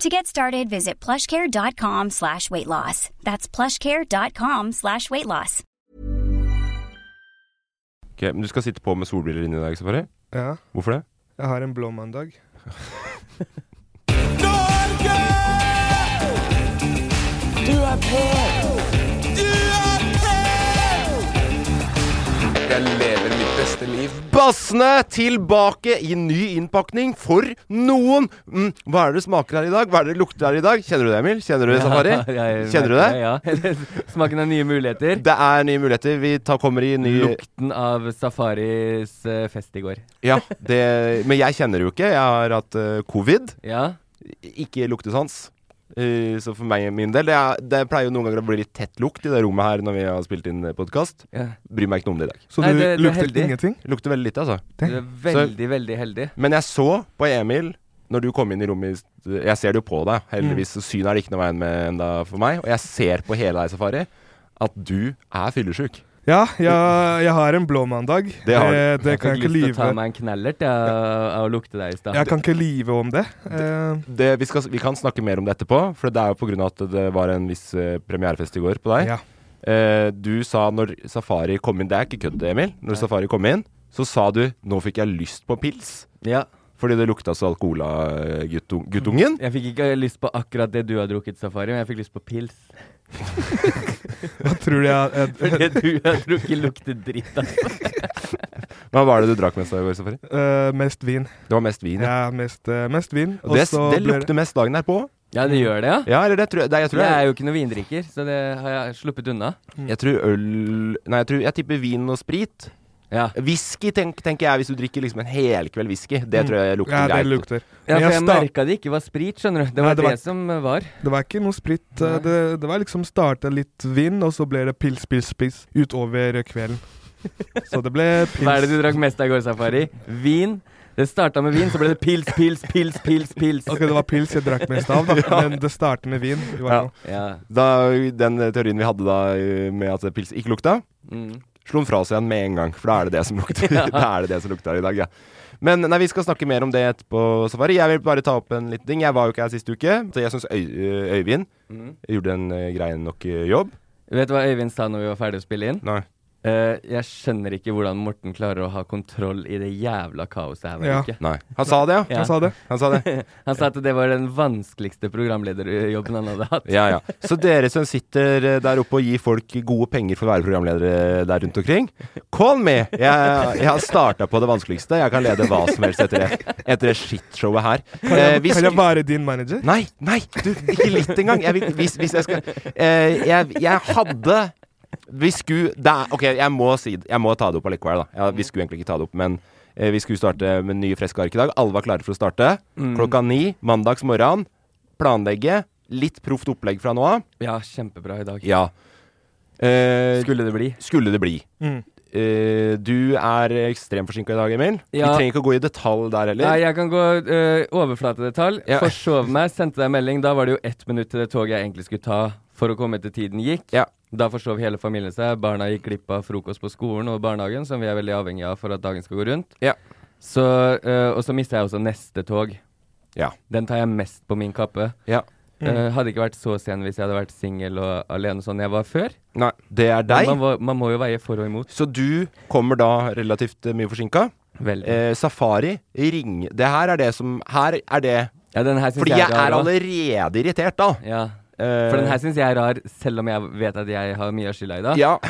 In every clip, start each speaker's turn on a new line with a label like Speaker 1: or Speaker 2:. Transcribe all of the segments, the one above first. Speaker 1: To get started, visit plushcare.com slash weight loss. That's plushcare.com slash weight loss.
Speaker 2: Ok, men du skal sitte på med solbriller inne i dag, Safari.
Speaker 3: Ja,
Speaker 2: Hvorfor det?
Speaker 3: jeg har en blå mandag.
Speaker 2: Bassene tilbake i ny innpakning for noen. Mm, hva er det det smaker her i dag? Hva er det det lukter her i dag? Kjenner du det, Emil? Kjenner du det, Safari?
Speaker 4: jeg
Speaker 2: Kjenner du det?
Speaker 4: merker det, Ja. Smaken av nye muligheter.
Speaker 2: Det er nye muligheter. Vi tar, kommer i ny
Speaker 4: Lukten av Safaris eh, fest i går.
Speaker 2: Ja, det, men jeg kjenner det jo ikke. Jeg har hatt eh, covid.
Speaker 4: Ja.
Speaker 2: Ikke luktesans. Eh, så for meg min del det, er, det pleier jo noen ganger å bli litt tett lukt i det rommet her når vi har spilt inn podkast.
Speaker 4: ja.
Speaker 2: Bryr meg ikke noe om det i dag.
Speaker 3: Så
Speaker 4: Nei,
Speaker 3: du
Speaker 4: det- det er
Speaker 3: lukter
Speaker 4: heldig.
Speaker 3: ingenting?
Speaker 2: Lukter veldig lite, altså.
Speaker 4: Du er veldig, veldig heldig.
Speaker 2: Men jeg så på Emil når du kom inn i rommet i st- Jeg ser det jo på deg, heldigvis. så Synet er det ikke noe veien med enda for meg. Og jeg ser på hele deg, Safari, at du er fyllesyk.
Speaker 3: Ja, jeg, jeg har en blå mandag.
Speaker 2: Det har du.
Speaker 3: Eh, det kan jeg
Speaker 4: fikk
Speaker 3: ikke
Speaker 4: lyst til å ta
Speaker 3: lyve
Speaker 4: meg en knallert ja, av å lukte deg i stad.
Speaker 3: Jeg kan ikke lyve om det. Eh,
Speaker 2: Det, vi, skal, vi kan snakke mer om det etterpå, for det er jo pga. at det var en viss eh, premierefest i går på deg.
Speaker 3: ja.
Speaker 2: Eh, du sa når Safari kom inn Det er ikke kødd, Emil. Når Safari kom inn, så sa du 'nå fikk jeg lyst på pils'.
Speaker 4: Ja.
Speaker 2: Fordi det lukta så alkohol av eh, guttung- guttungen.
Speaker 4: Jeg fikk ikke lyst på akkurat det du har drukket, Safari, men jeg fikk lyst på pils.
Speaker 3: Hva tror du jeg eh,
Speaker 4: For det du har drukket, lukter dritt. Altså.
Speaker 2: Hva var det du drakk mest av i går, Safari?
Speaker 3: eh, Mest vin.
Speaker 2: Det var mest vin. Ja.
Speaker 3: Ja, mest, eh, mest vin.
Speaker 2: Og det,
Speaker 3: så
Speaker 2: det
Speaker 3: blir-
Speaker 2: lukter mest dagen derpå.
Speaker 4: Ja, det gjør det, ja.
Speaker 2: Ja, eller det tror jeg, det, jeg, tror
Speaker 4: Jeg er Mm.
Speaker 2: jeg,
Speaker 4: jo ikke noen vindrikker, så det har jeg sluppet unna.
Speaker 2: jeg tror øl Nei, jeg, tror, jeg tipper vin og sprit.
Speaker 4: Ja,
Speaker 2: Whisky tenk, tenker jeg, hvis du drikker liksom en helkveld whisky. Det
Speaker 4: Mm.
Speaker 2: tror jeg lukter
Speaker 3: Ja, det
Speaker 2: greit.
Speaker 3: lukter.
Speaker 4: ja
Speaker 3: Men
Speaker 4: for
Speaker 3: jeg
Speaker 4: jeg
Speaker 3: sta-
Speaker 4: merka det ikke var sprit, skjønner du. Det
Speaker 3: Nei,
Speaker 4: var
Speaker 3: det var-
Speaker 4: det som var.
Speaker 3: Det var ikke noe sprit. eh,
Speaker 4: Nei.
Speaker 3: Det, det var liksom starta litt vin, og så ble det pils, pils, pils utover kvelden. Så det ble pils.
Speaker 4: Hva er det du drakk mest av i går, Safari? Vin. Det starta med vin, så ble det pils, pils, pils, pils. pils.
Speaker 3: Ok, det var pils jeg drakk mest av, da. Men det starter med vin. i hvert
Speaker 2: Ja.
Speaker 3: fall.
Speaker 4: Ja.
Speaker 2: Da, den teorien vi hadde da eh, med at pils ikke lukta,
Speaker 4: Mm.
Speaker 2: slo den fra seg igjen med en gang. For da er det det som lukter Da er det det som lukter i dag, ja. Men nei, vi skal snakke mer om det etterpå, Safari. Jeg vil bare ta opp en liten ting. Jeg var jo ikke her sist uke. Så jeg syns Øy, eh, Øyvind
Speaker 4: Mm.
Speaker 2: gjorde en eh, grei nok eh, jobb.
Speaker 4: Vet du hva Øyvind sa når vi var ferdig å spille inn?
Speaker 2: Nei.
Speaker 4: Eh, jeg skjønner ikke hvordan Morten klarer å ha kontroll i det jævla kaoset her hver
Speaker 3: Ja.
Speaker 4: uke.
Speaker 2: Nei. Han sa det, ja.
Speaker 4: Ja.
Speaker 3: Jeg sa det.
Speaker 2: Han sa det.
Speaker 4: Han sa at det var den vanskeligste programlederjobben han hadde hatt.
Speaker 2: Ja, ja. Så dere som sitter eh, der oppe og gir folk gode penger for å være programledere der rundt omkring, call me! Jeg, jeg har starta på det vanskeligste. Jeg kan lede hva som helst etter det, etter det shitshowet her. Eh, hvis-
Speaker 3: Kan jeg være din manager?
Speaker 2: Nei, nei! Du, ikke litt engang. Jeg, vil- hvis, hvis jeg skal eh, jeg, jeg hadde Vi skulle det er- OK, jeg må, si, det. jeg må ta det opp allikevel, da. Ja, vi skulle egentlig ikke ta det opp, men eh, vi skulle starte med nye friske ark i dag. Alle var klare for å starte.
Speaker 4: Mm.
Speaker 2: Klokka ni mandags morgen. Planlegge. Litt proft opplegg fra nå av.
Speaker 4: Ja, kjempebra i dag.
Speaker 2: Ja. Eh, skulle,
Speaker 4: Skulle det bli.
Speaker 2: det bli.
Speaker 3: Mm.
Speaker 2: Eh, du er ekstremt forsinka i dag, Emil. Vi
Speaker 4: Ja.
Speaker 2: trenger ikke å gå i detalj der heller.
Speaker 4: Nei, jeg kan gå eh, overflatedetalj.
Speaker 2: Ja.
Speaker 4: Forsov meg, sendte deg melding. Da var det jo ett minutt til det toget jeg egentlig skulle ta for å komme til tiden gikk.
Speaker 2: Ja.
Speaker 4: Da forsov hele familien seg. Barna gikk glipp av frokost på skolen og barnehagen, som vi er veldig avhengig av for at dagen skal gå rundt.
Speaker 2: Ja.
Speaker 4: Så, eh, og så mista jeg også neste tog.
Speaker 2: Ja.
Speaker 4: Den tar jeg mest på min kappe.
Speaker 2: Ja. Mm.
Speaker 4: Eh, hadde ikke vært så sen hvis jeg hadde vært singel og alene sånn jeg var før.
Speaker 2: Nei, det er
Speaker 4: Men
Speaker 2: deg.
Speaker 4: Man, må- man må jo veie for og imot.
Speaker 2: Så du kommer da relativt eh, mye forsinka.
Speaker 4: Veldig.
Speaker 2: Eh, safari, ring Det her er det som Her er det
Speaker 4: ja, den her syns
Speaker 2: Fordi
Speaker 4: jeg
Speaker 2: jeg
Speaker 4: er rar.
Speaker 2: er
Speaker 4: da.
Speaker 2: allerede irritert, da.
Speaker 4: Ja.
Speaker 2: Eh,
Speaker 4: For den her syns jeg er rar, selv om jeg vet at jeg har mye av skylda i dag.
Speaker 2: Ja.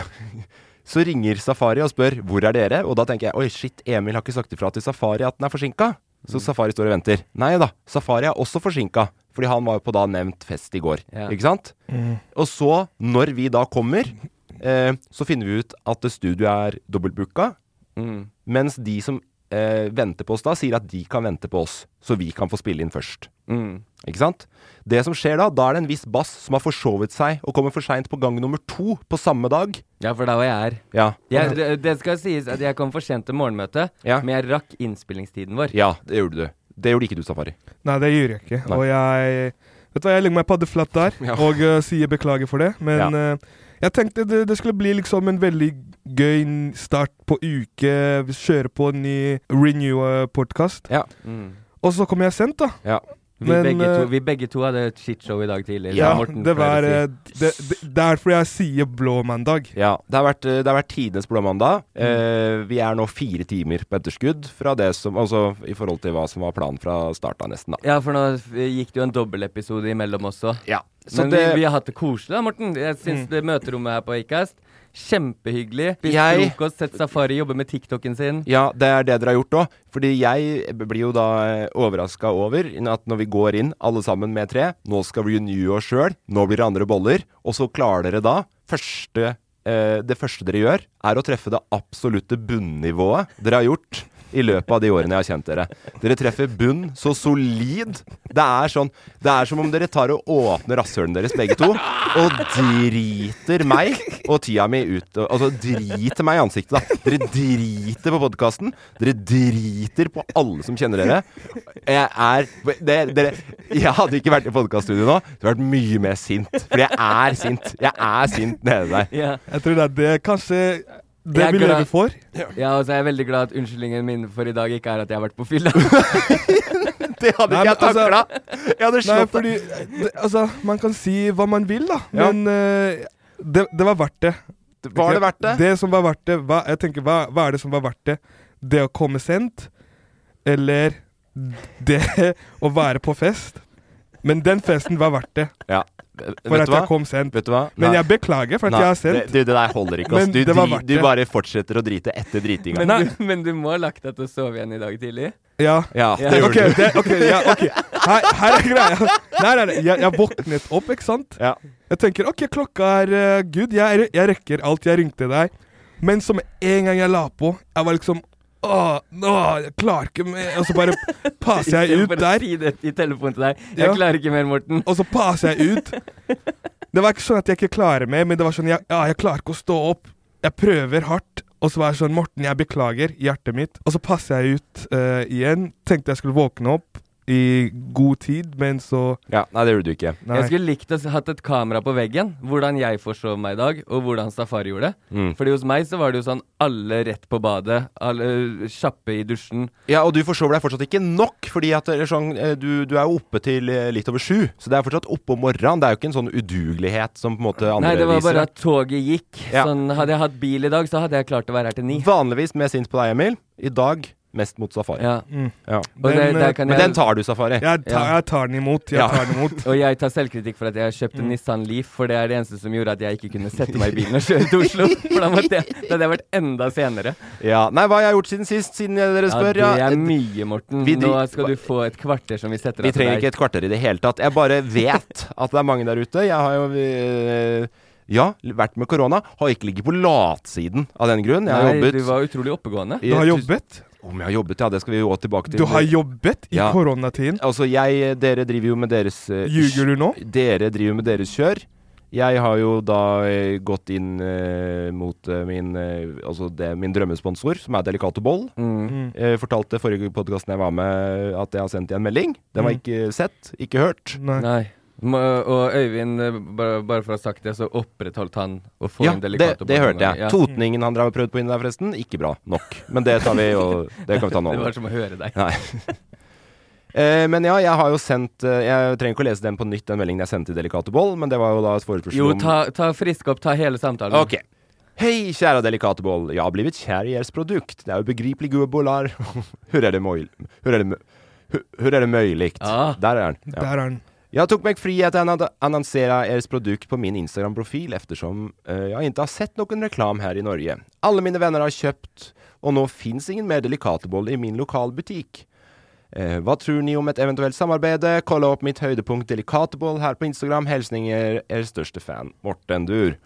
Speaker 2: Så ringer Safari og spør hvor er dere? Og da tenker jeg oi, shit, Emil har ikke sagt ifra til Safari at den er forsinka.
Speaker 4: Mm.
Speaker 2: Så Safari står og venter. Nei da, Safari er også forsinka. Fordi han var jo på da nevnt fest i går.
Speaker 4: Ja.
Speaker 2: Ikke sant? Og så, når vi da kommer, eh, så finner vi ut at studioet er dobbeltbooka.
Speaker 4: Mm.
Speaker 2: Mens de som eh, venter på oss da, sier at de kan vente på oss. Så vi kan få spille inn først.
Speaker 4: Mm.
Speaker 2: Ikke sant? Det som skjer da, da er det en viss bass som har forsovet seg og kommer for seint på gang nummer to på samme dag.
Speaker 4: ja, for da var jeg her.
Speaker 2: Ja.
Speaker 4: Jeg, det, det skal sies at jeg kom for sent til morgenmøtet,
Speaker 2: Ja.
Speaker 4: men jeg rakk innspillingstiden vår.
Speaker 2: Ja, det gjorde du. Det gjorde ikke du, Safari.
Speaker 3: Nei, det gjør jeg ikke. Og jeg Vet du hva, jeg legger meg paddeflat der og eh, sier beklager for det. Men
Speaker 2: Ja.
Speaker 3: eh, jeg tenkte det, det skulle bli liksom en veldig gøy n- start på uke. Vi Kjøre på en ny Renew-podkast.
Speaker 2: Ja.
Speaker 3: Og så kom jeg sent, da.
Speaker 2: Ja.
Speaker 4: Vi,
Speaker 3: Men,
Speaker 4: begge
Speaker 3: eh,
Speaker 4: to, vi begge to hadde et shitshow i dag tidlig. som
Speaker 3: Ja,
Speaker 4: Morten
Speaker 3: det
Speaker 4: pleier å
Speaker 3: var
Speaker 4: si.
Speaker 3: eh, det, det, derfor jeg sier blå mandag.
Speaker 2: Det har vært, eh, det har vært tidenes blåmandag. Eh, vi er nå fire timer på etterskudd fra det som Altså i forhold til hva som var planen fra starten av, nesten, da.
Speaker 4: Ja, for nå f- gikk det jo en dobbeltepisode imellom også.
Speaker 2: Ja. Så
Speaker 4: Men
Speaker 2: det
Speaker 4: vi, vi har hatt det koselig, da, Morten. Jeg
Speaker 3: Mm.
Speaker 4: syns det møterommet her på Acast Kjempehyggelig. Spist
Speaker 2: Jeg-
Speaker 4: frokost, sett Safari jobbe med TikToken sin.
Speaker 2: Ja, det er det dere har gjort òg. Fordi jeg blir jo da overraska over at når vi går inn, alle sammen med tre Nå skal vi renew oss sjøl. Nå blir det andre boller. Og så klarer dere da første, eh, Det første dere gjør, er å treffe det absolutte bunnivået dere har gjort i løpet av de årene jeg har kjent dere. Dere treffer bunn så solid. Det er sånn Det er som om dere tar og åpner rasshølene deres begge to og driter meg og tida mi ut Altså driter meg i ansiktet, da. Dere driter på podkasten. Dere driter på alle som kjenner dere. Jeg er dere, dere, Jeg hadde ikke vært i podkaststudio nå, så hadde jeg vært mye mer sint. For jeg er sint. Jeg er sint nede der.
Speaker 4: Ja.
Speaker 3: Jeg tror det er det kanskje det
Speaker 4: Jeg
Speaker 3: vi
Speaker 4: er glad-
Speaker 3: lever for.
Speaker 4: ja, og så er jeg veldig glad at unnskyldningen min for i dag ikke er at jeg har vært på fylla.
Speaker 2: Det hadde
Speaker 3: Nei,
Speaker 2: ikke
Speaker 3: men altså-
Speaker 2: jeg takla. Jeg hadde
Speaker 3: Nei,
Speaker 2: slått
Speaker 3: fordi det, Altså, man kan si hva man vil, da.
Speaker 2: Ja.
Speaker 3: Men eh, det, det var verdt det.
Speaker 2: deg. Var det verdt det?
Speaker 3: Det som var verdt det hva, Jeg tenker, hva, hva er det som var verdt det? Det å komme sent, eller det å være på fest? Men den festen var verdt det,
Speaker 2: Ja.
Speaker 3: for
Speaker 2: Eh, Vet
Speaker 3: at
Speaker 2: du hva?
Speaker 3: jeg kom sent.
Speaker 2: Vet du hva?
Speaker 3: Men
Speaker 2: Nei.
Speaker 3: jeg beklager for at jeg er
Speaker 2: det,
Speaker 3: sent.
Speaker 2: du, det der holder ikke. Ass.
Speaker 3: Men
Speaker 2: Du,
Speaker 3: det var
Speaker 2: dri-
Speaker 3: verdt
Speaker 2: du
Speaker 3: det.
Speaker 2: bare fortsetter å drite etter dritinga.
Speaker 4: Men,
Speaker 3: Nei.
Speaker 4: du- men du må ha lagt deg til å sove igjen i dag tidlig.
Speaker 3: Ja.
Speaker 2: Ja,
Speaker 4: Ja.
Speaker 2: det
Speaker 3: OK,
Speaker 2: gjorde du.
Speaker 3: det, ok, ja, ok. Her, her er greia. Nei, nei, nei. Jeg, jeg våknet opp, ikke sant?
Speaker 2: Ja.
Speaker 3: Jeg tenker OK, klokka er eh, Gud, jeg, re- jeg rekker alt. Jeg ringte deg. Men som en gang jeg la på, jeg var liksom Åh, åh, jeg klarer ikke mer. Og så bare passer Altså, jeg
Speaker 4: Istedenfor
Speaker 3: ut
Speaker 4: å
Speaker 3: der.
Speaker 4: Si det i telefonen til deg. Jeg
Speaker 3: Ja.
Speaker 4: klarer ikke mer, Morten.
Speaker 3: Og så passer jeg ut. Det var ikke sånn at jeg ikke klarer mer, men det var sånn jeg, ja, jeg klarer ikke å stå opp. Jeg prøver hardt. Og så var jeg sånn Morten, jeg beklager. Hjertet mitt. Og så passer jeg ut eh, igjen. Tenkte jeg skulle våkne opp i god tid, men så
Speaker 2: Ja, nei, det gjorde du ikke.
Speaker 3: Nei.
Speaker 4: Jeg skulle likt å s- hatt et kamera på veggen. Hvordan jeg forsov meg i dag, og hvordan Safari gjorde det.
Speaker 2: Mm.
Speaker 4: Fordi hos meg så var det jo sånn alle rett på badet, alle øh, kjappe i dusjen.
Speaker 2: Ja, Og du forsover deg fortsatt ikke nok, fordi at eller sånn, eh, du, du er jo oppe til eh, litt over sju. Så det er fortsatt oppe om morgenen. Det er jo ikke en sånn udugelighet som på en måte andre
Speaker 4: Nei, det var
Speaker 2: viser.
Speaker 4: bare at toget gikk.
Speaker 2: Ja.
Speaker 4: Sånn, hadde jeg hatt bil i dag, så hadde jeg klart å være her til ni.
Speaker 2: Vanligvis mer sint på deg, Emil. I dag mest mot Safari.
Speaker 4: Ja.
Speaker 2: Ja.
Speaker 4: Og, det,
Speaker 3: Den, eh,
Speaker 4: der kan
Speaker 2: Mm. Men den
Speaker 4: jeg,
Speaker 2: tar du, Safari.
Speaker 3: Jeg tar,
Speaker 4: Ja.
Speaker 3: jeg tar den imot. Jeg
Speaker 2: Ja.
Speaker 3: tar den imot.
Speaker 4: og jeg tar selvkritikk for at jeg kjøpte
Speaker 2: Mm.
Speaker 4: en Nissan Leaf, for det er det eneste som gjorde at jeg ikke kunne sette meg i bilen og kjøre til Oslo. For da, måtte jeg, da hadde jeg vært enda senere.
Speaker 2: Ja. Nei, hva har jeg gjort siden sist, siden eh, dere
Speaker 4: Ja,
Speaker 2: spør?
Speaker 4: det
Speaker 2: Ja,
Speaker 4: er mye, Morten.
Speaker 2: Vi
Speaker 4: Nå
Speaker 2: dri-
Speaker 4: skal du få et kvarter som vi setter
Speaker 2: Vi
Speaker 4: av til
Speaker 2: trenger ikke
Speaker 4: deg.
Speaker 2: et kvarter i det hele tatt. Jeg bare vet at det er mange der ute. Jeg har jo eh, ja, vært med korona. Har ikke ligget på latsiden av den grunn. Jeg har
Speaker 4: Nei,
Speaker 2: jobbet
Speaker 4: du var utrolig oppegående.
Speaker 2: i-
Speaker 3: Du har jobbet?
Speaker 2: Om jeg har jobbet, ja. Det skal vi jo også tilbake til.
Speaker 3: Du har jobbet i
Speaker 2: Ja.
Speaker 3: koronatiden?
Speaker 2: Altså, jeg Dere driver jo med deres eh,
Speaker 3: Ljuger du nå?
Speaker 2: Dere driver med deres kjør. Jeg har jo da eh, gått inn eh, mot eh, min, eh, altså det, min drømmesponsor, som er Delicato Boll.
Speaker 3: Mm.
Speaker 2: Eh, fortalte
Speaker 3: Mm.
Speaker 2: forrige podkast jeg var med, at jeg har sendt dem en melding. Den var ikke sett, ikke hørt.
Speaker 3: Nei.
Speaker 4: Nei. Ma- Og Øyvind, eh, bare, bare for å ha sagt det, så opprettholdt han å få
Speaker 2: Ja,
Speaker 4: inn
Speaker 2: det,
Speaker 4: delicato.
Speaker 2: det
Speaker 4: på
Speaker 2: hørte jeg.
Speaker 4: Ja.
Speaker 2: Totningen han har prøvd på inni der, forresten. Ikke bra nok. Men det tar vi jo Det kan vi ta nå.
Speaker 4: Det var som å høre deg.
Speaker 2: Nei. Eh, men ja, jeg har jo sendt eh, Jeg trenger ikke å lese den på nytt, den meldingen jeg sendte til Delicato Boll, men det var jo da et forespørsel
Speaker 4: Jo,
Speaker 2: om-
Speaker 4: ta, ta frisk opp, ta hele samtalen.
Speaker 2: Ok. Hei, kjære Delikate Boll. Jeg har blitt kjær i deres produkt. Det er ubegripelig gode boller. Hvor er det mulig? Hvor er det, mu- hvor- hvor er det mulig?
Speaker 4: Ah.
Speaker 2: Der er den. Ja.
Speaker 3: Der er den.
Speaker 2: Jag tog mig friheten att annonsera ers produkt på min Instagram-profil eftersom eh, jag inte har sett någon reklam här i Norge. Alla mina vänner har köpt och nu finns ingen mer Delicatoboll i min lokalbutik. Eh, vad tror ni om ett eventuellt samarbete? Kolla upp mitt höjdpunkt Delicatoboll här på Instagram. Hälsning er, er största fan, Morten Dur.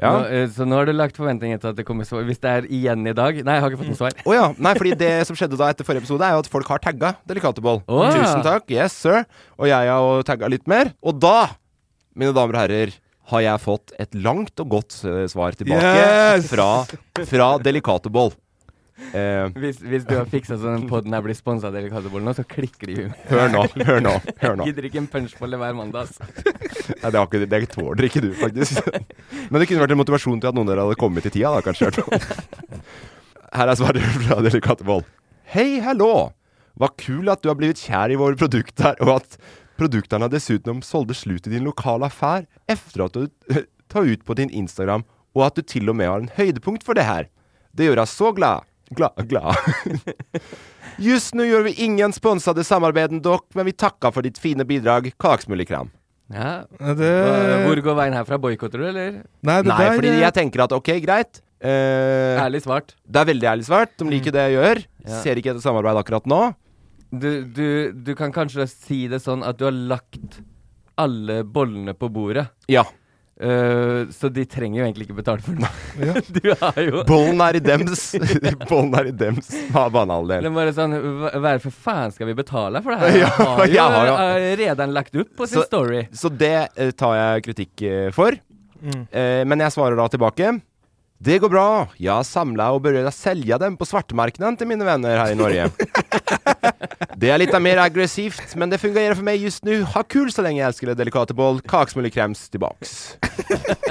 Speaker 4: Nå,
Speaker 2: Ja.
Speaker 4: eh, så nå har du lagt forventninger til at det kommer svar. Hvis det er igjen i dag Nei, jeg har ikke fått noe svar.
Speaker 2: Å ja. Nei, fordi det som skjedde da etter forrige episode, er jo at folk har tagga Delicatoboll.
Speaker 4: Å ja.
Speaker 2: Tusen takk. Yes, sir. Og jeg har jo tagga litt mer. Og da, mine damer og herrer, har jeg fått et langt og godt eh, svar tilbake
Speaker 3: Yes!
Speaker 2: fra, fra Delicatoboll. Eh,
Speaker 4: Hvis, hvis du har fiksa sånn den podden her blir sponsa av Delikatobollen nå, så klikker det i huet.
Speaker 2: hør nå, hør nå. hør nå.
Speaker 4: Gidder ikke en punchbolle hver mandag, ass.
Speaker 2: Nei, det, har ikke, det tåler ikke du, faktisk. Men det kunne vært en motivasjon til at noen av dere hadde kommet i tida, da, kanskje. Her er svaret fra Delikateboll. Hei, hallo! Hva kul at du har blitt kjær i våre produkter, og at produktene dessuten solgte slutt i din lokale affær etter at du eh, tar ut på din Instagram, og at du til og med har en høydepunkt for det her. Det gjør deg så glad. Glad, glad. Just nå gjør vi ingen sponsede samarbeid, dok, men vi takker for ditt fine bidrag. Kaksmullekram.
Speaker 4: Ja.
Speaker 3: Ja,
Speaker 2: Eh.
Speaker 4: Hva- Hvor
Speaker 3: det
Speaker 4: går veien herfra? Boikotter du, eller?
Speaker 3: Nei, det
Speaker 2: Nei,
Speaker 3: der
Speaker 2: fordi
Speaker 3: eh,
Speaker 2: jeg tenker at ok, greit. eh,
Speaker 4: Ærlig svart.
Speaker 2: det er veldig ærlig svart. De
Speaker 3: Mm.
Speaker 2: liker det jeg gjør.
Speaker 4: Ja.
Speaker 2: Ser ikke etter samarbeid akkurat nå.
Speaker 4: Du, du, du kan kanskje si det sånn at du har lagt alle bollene på bordet.
Speaker 2: Ja.
Speaker 4: Eh, så de trenger jo egentlig ikke betale for den.
Speaker 3: Ja.
Speaker 4: Du har jo
Speaker 2: Bollen er i dems. Bollen er i dems av banehalvdel.
Speaker 4: Men bare sånn, hva hva er det for faen skal vi betale for det her?
Speaker 2: Ja,
Speaker 4: har jo
Speaker 2: jeg har jo-
Speaker 4: eh, redan lagt ut på sin
Speaker 2: Så-
Speaker 4: story.
Speaker 2: Så det eh, tar jeg kritikk eh, for.
Speaker 3: Mm.
Speaker 2: Eh, men jeg svarer da tilbake. Det går bra. Jeg har samla og begynt å selge dem på svartemarkedet til mine venner her i Norge. det er litt mer aggressivt, men det fungerer for meg just nå. Ha kul så lenge jeg elsker det delikate boll. Kaksmullekrems tilbaks.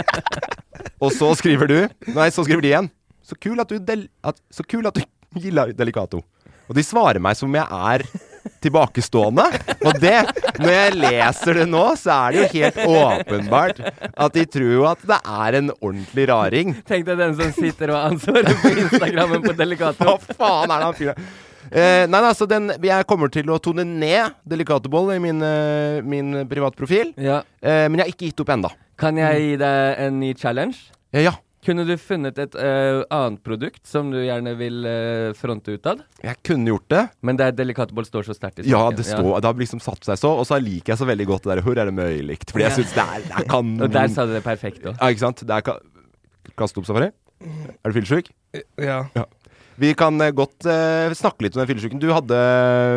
Speaker 2: og så skriver du Nei, så skriver de igjen. Så kul at du, del, at, så kul at du gillar Delicato. Og de svarer meg som jeg er tilbakestående. Og det, når jeg leser det nå, så er det jo helt åpenbart at de tror jo at det er en ordentlig raring.
Speaker 4: Tenk deg den som sitter og har ansvaret på Instagrammen på
Speaker 2: Hva
Speaker 4: Delicato.
Speaker 2: faen er det han fyren Eh, nei, nei, altså den, jeg kommer til å tone ned Delicatoboll i min, eh, min privatprofil.
Speaker 4: Ja.
Speaker 2: Eh, men jeg har ikke gitt opp enda
Speaker 4: Kan jeg gi deg en ny challenge?
Speaker 2: Eh, ja.
Speaker 4: Kunne du funnet et eh, annet produkt som du gjerne vil eh, fronte utad?
Speaker 2: Jeg kunne gjort det.
Speaker 4: Men der Delicatoboll står så sterkt i
Speaker 2: Ja,
Speaker 4: smaken.
Speaker 2: det, står, det har liksom satt seg så. Og så liker jeg så veldig godt det der 'Hvor er det mulikt?' Fordi jeg syns det er, det er kanon.
Speaker 4: Og der sa du det perfekt òg.
Speaker 2: Ja, ikke sant? Det er ka Kast opp safari. Er du fyllesyk?
Speaker 3: Ja.
Speaker 2: Vi kan eh, godt eh, snakke litt om den fyllesyken. Du hadde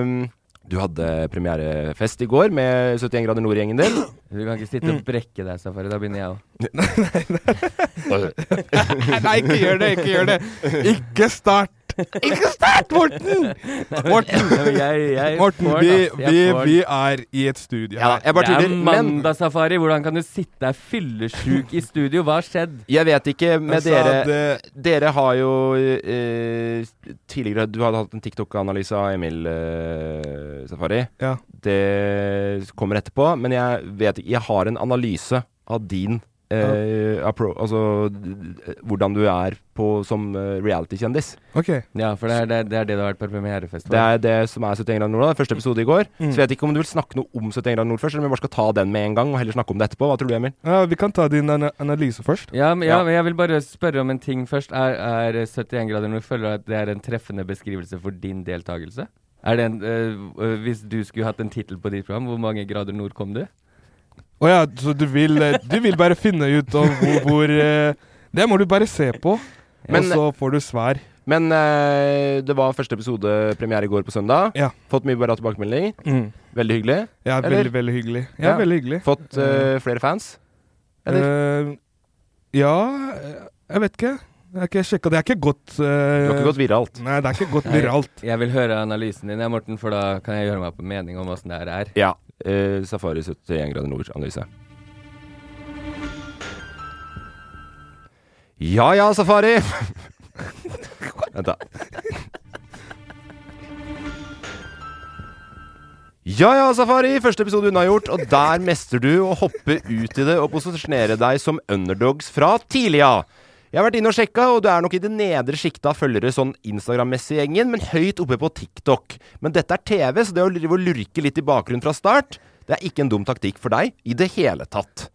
Speaker 2: mm, du hadde premierefest i går med 71 grader nord-gjengen din.
Speaker 4: Du kan ikke sitte
Speaker 2: Mm.
Speaker 4: og brekke deg, Safari. Da begynner jeg òg.
Speaker 3: Nei, ikke gjør det! Ikke gjør det! Ikke start! Ikke start, Morten! Morten,
Speaker 4: Jeg, jeg
Speaker 3: Morten
Speaker 4: får
Speaker 3: vi,
Speaker 4: den,
Speaker 2: altså.
Speaker 4: ass. Jeg
Speaker 3: vi,
Speaker 4: får den.
Speaker 3: vi er i et studio
Speaker 2: Ja,
Speaker 3: her.
Speaker 2: jeg bare
Speaker 4: det er
Speaker 2: tuller. Men
Speaker 4: mandagssafari. Hvordan kan du sitte der fyllesjuk i studio? Hva har skjedd?
Speaker 2: jeg vet ikke med
Speaker 3: Jeg sa
Speaker 2: dere
Speaker 3: det-
Speaker 2: Dere har jo eh, tidligere Du hadde hatt en TikTok-analyse av Emil eh, Safari.
Speaker 3: Ja.
Speaker 2: Det kommer etterpå, men jeg vet ikke Jeg har en analyse av din eh, appro Altså d- d- hvordan du er på, som eh, reality-kjendis.
Speaker 3: OK.
Speaker 4: Ja, for det er det, det, er det du har vært på premierefest for.
Speaker 2: Det er det som er 71 grader nord. da, Første episode i går.
Speaker 3: Mm.
Speaker 2: Så jeg vet ikke om du vil snakke noe om 71 grader nord først, eller om vi bare skal ta den med en gang og heller snakke om det etterpå. Hva tror du, Emil?
Speaker 3: Ja, vi kan ta din ana- analyse først.
Speaker 4: ja, men, ja,
Speaker 2: Ja.
Speaker 4: men jeg vil bare spørre om en ting først. Er, er 71 grader nord føler du at det er en treffende beskrivelse for din deltakelse? Er det en, øh, øh, hvis du skulle hatt en tittel på ditt program, hvor mange grader nord kom du?
Speaker 3: Å ja, så du vil, eh, du vil bare finne ut om hvor, hvor eh, Det må du bare se på,
Speaker 2: Men-
Speaker 3: og så får du svar.
Speaker 2: Men eh, det var første episode premiere i går på søndag.
Speaker 3: Ja.
Speaker 2: Fått mye bra tilbakemelding.
Speaker 3: Mm.
Speaker 2: Veldig hyggelig.
Speaker 3: Ja,
Speaker 2: Eller?
Speaker 3: veldig, veldig hyggelig. Ja,
Speaker 2: Ja.
Speaker 3: veldig hyggelig.
Speaker 2: Fått eh, flere fans. Eller?
Speaker 3: Eh, ja eh, Jeg vet ikke. Jeg har ikke sjekka. Det er ikke godt eh,
Speaker 2: Du har ikke gått viralt.
Speaker 3: Nei, det er ikke godt
Speaker 4: Nei.
Speaker 3: viralt.
Speaker 4: Jeg vil høre analysen din, ja, Morten, for da kan jeg gjøre meg opp en mening om åssen det her er.
Speaker 2: Ja. eh, Safari 71 grader nord-analyse. Ja ja, Safari! Vent, da. Ja ja, Safari! Første episode unnagjort, og der mester du å hoppe ut i det og posisjonere deg som underdogs fra tidlig av. Jeg har vært inne og sjekka, og du er nok i det nedre sjiktet av følgere sånn Instagram-messig i gjengen, men høyt oppe på TikTok. Men dette er TV, så det å drive og lurke litt i bakgrunnen fra start, det er ikke en dum taktikk for deg i det hele tatt.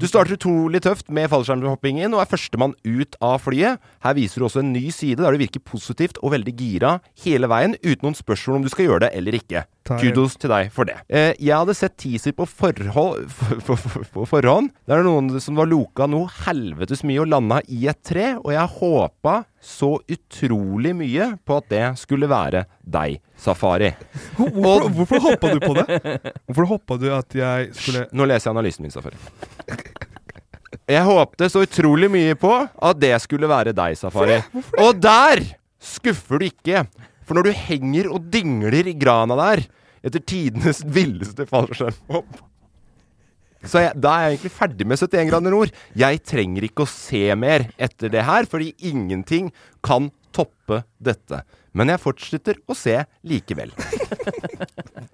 Speaker 2: Du starter utrolig tøft med fallskjermhoppingen og er førstemann ut av flyet. Her viser du også en ny side der du virker positivt og veldig gira hele veien, uten noen spørsmål om du skal gjøre det eller ikke.
Speaker 3: Tar-
Speaker 2: Kudos til deg for det. Eh, jeg hadde sett teaser på, forhold, på, på, på forhånd. Der er det noen som var loka noe helvetes mye og landa i et tre, og jeg håpa så utrolig mye på at det skulle være deg, Safari.
Speaker 3: Hvorfor, hvorfor hoppa du på det? Hvorfor hoppa du at jeg skulle
Speaker 2: Nå leser jeg analysen min, Safari. Jeg håpte så utrolig mye på at det skulle være deg, Safari. Og der skuffer du ikke. For når du henger og dingler i grana der, etter tidenes villeste fallskjermhopp så jeg, da er jeg egentlig ferdig med 71 grader nord. Jeg trenger ikke å se mer etter det her, fordi ingenting kan toppe dette. Men jeg fortsetter å se likevel.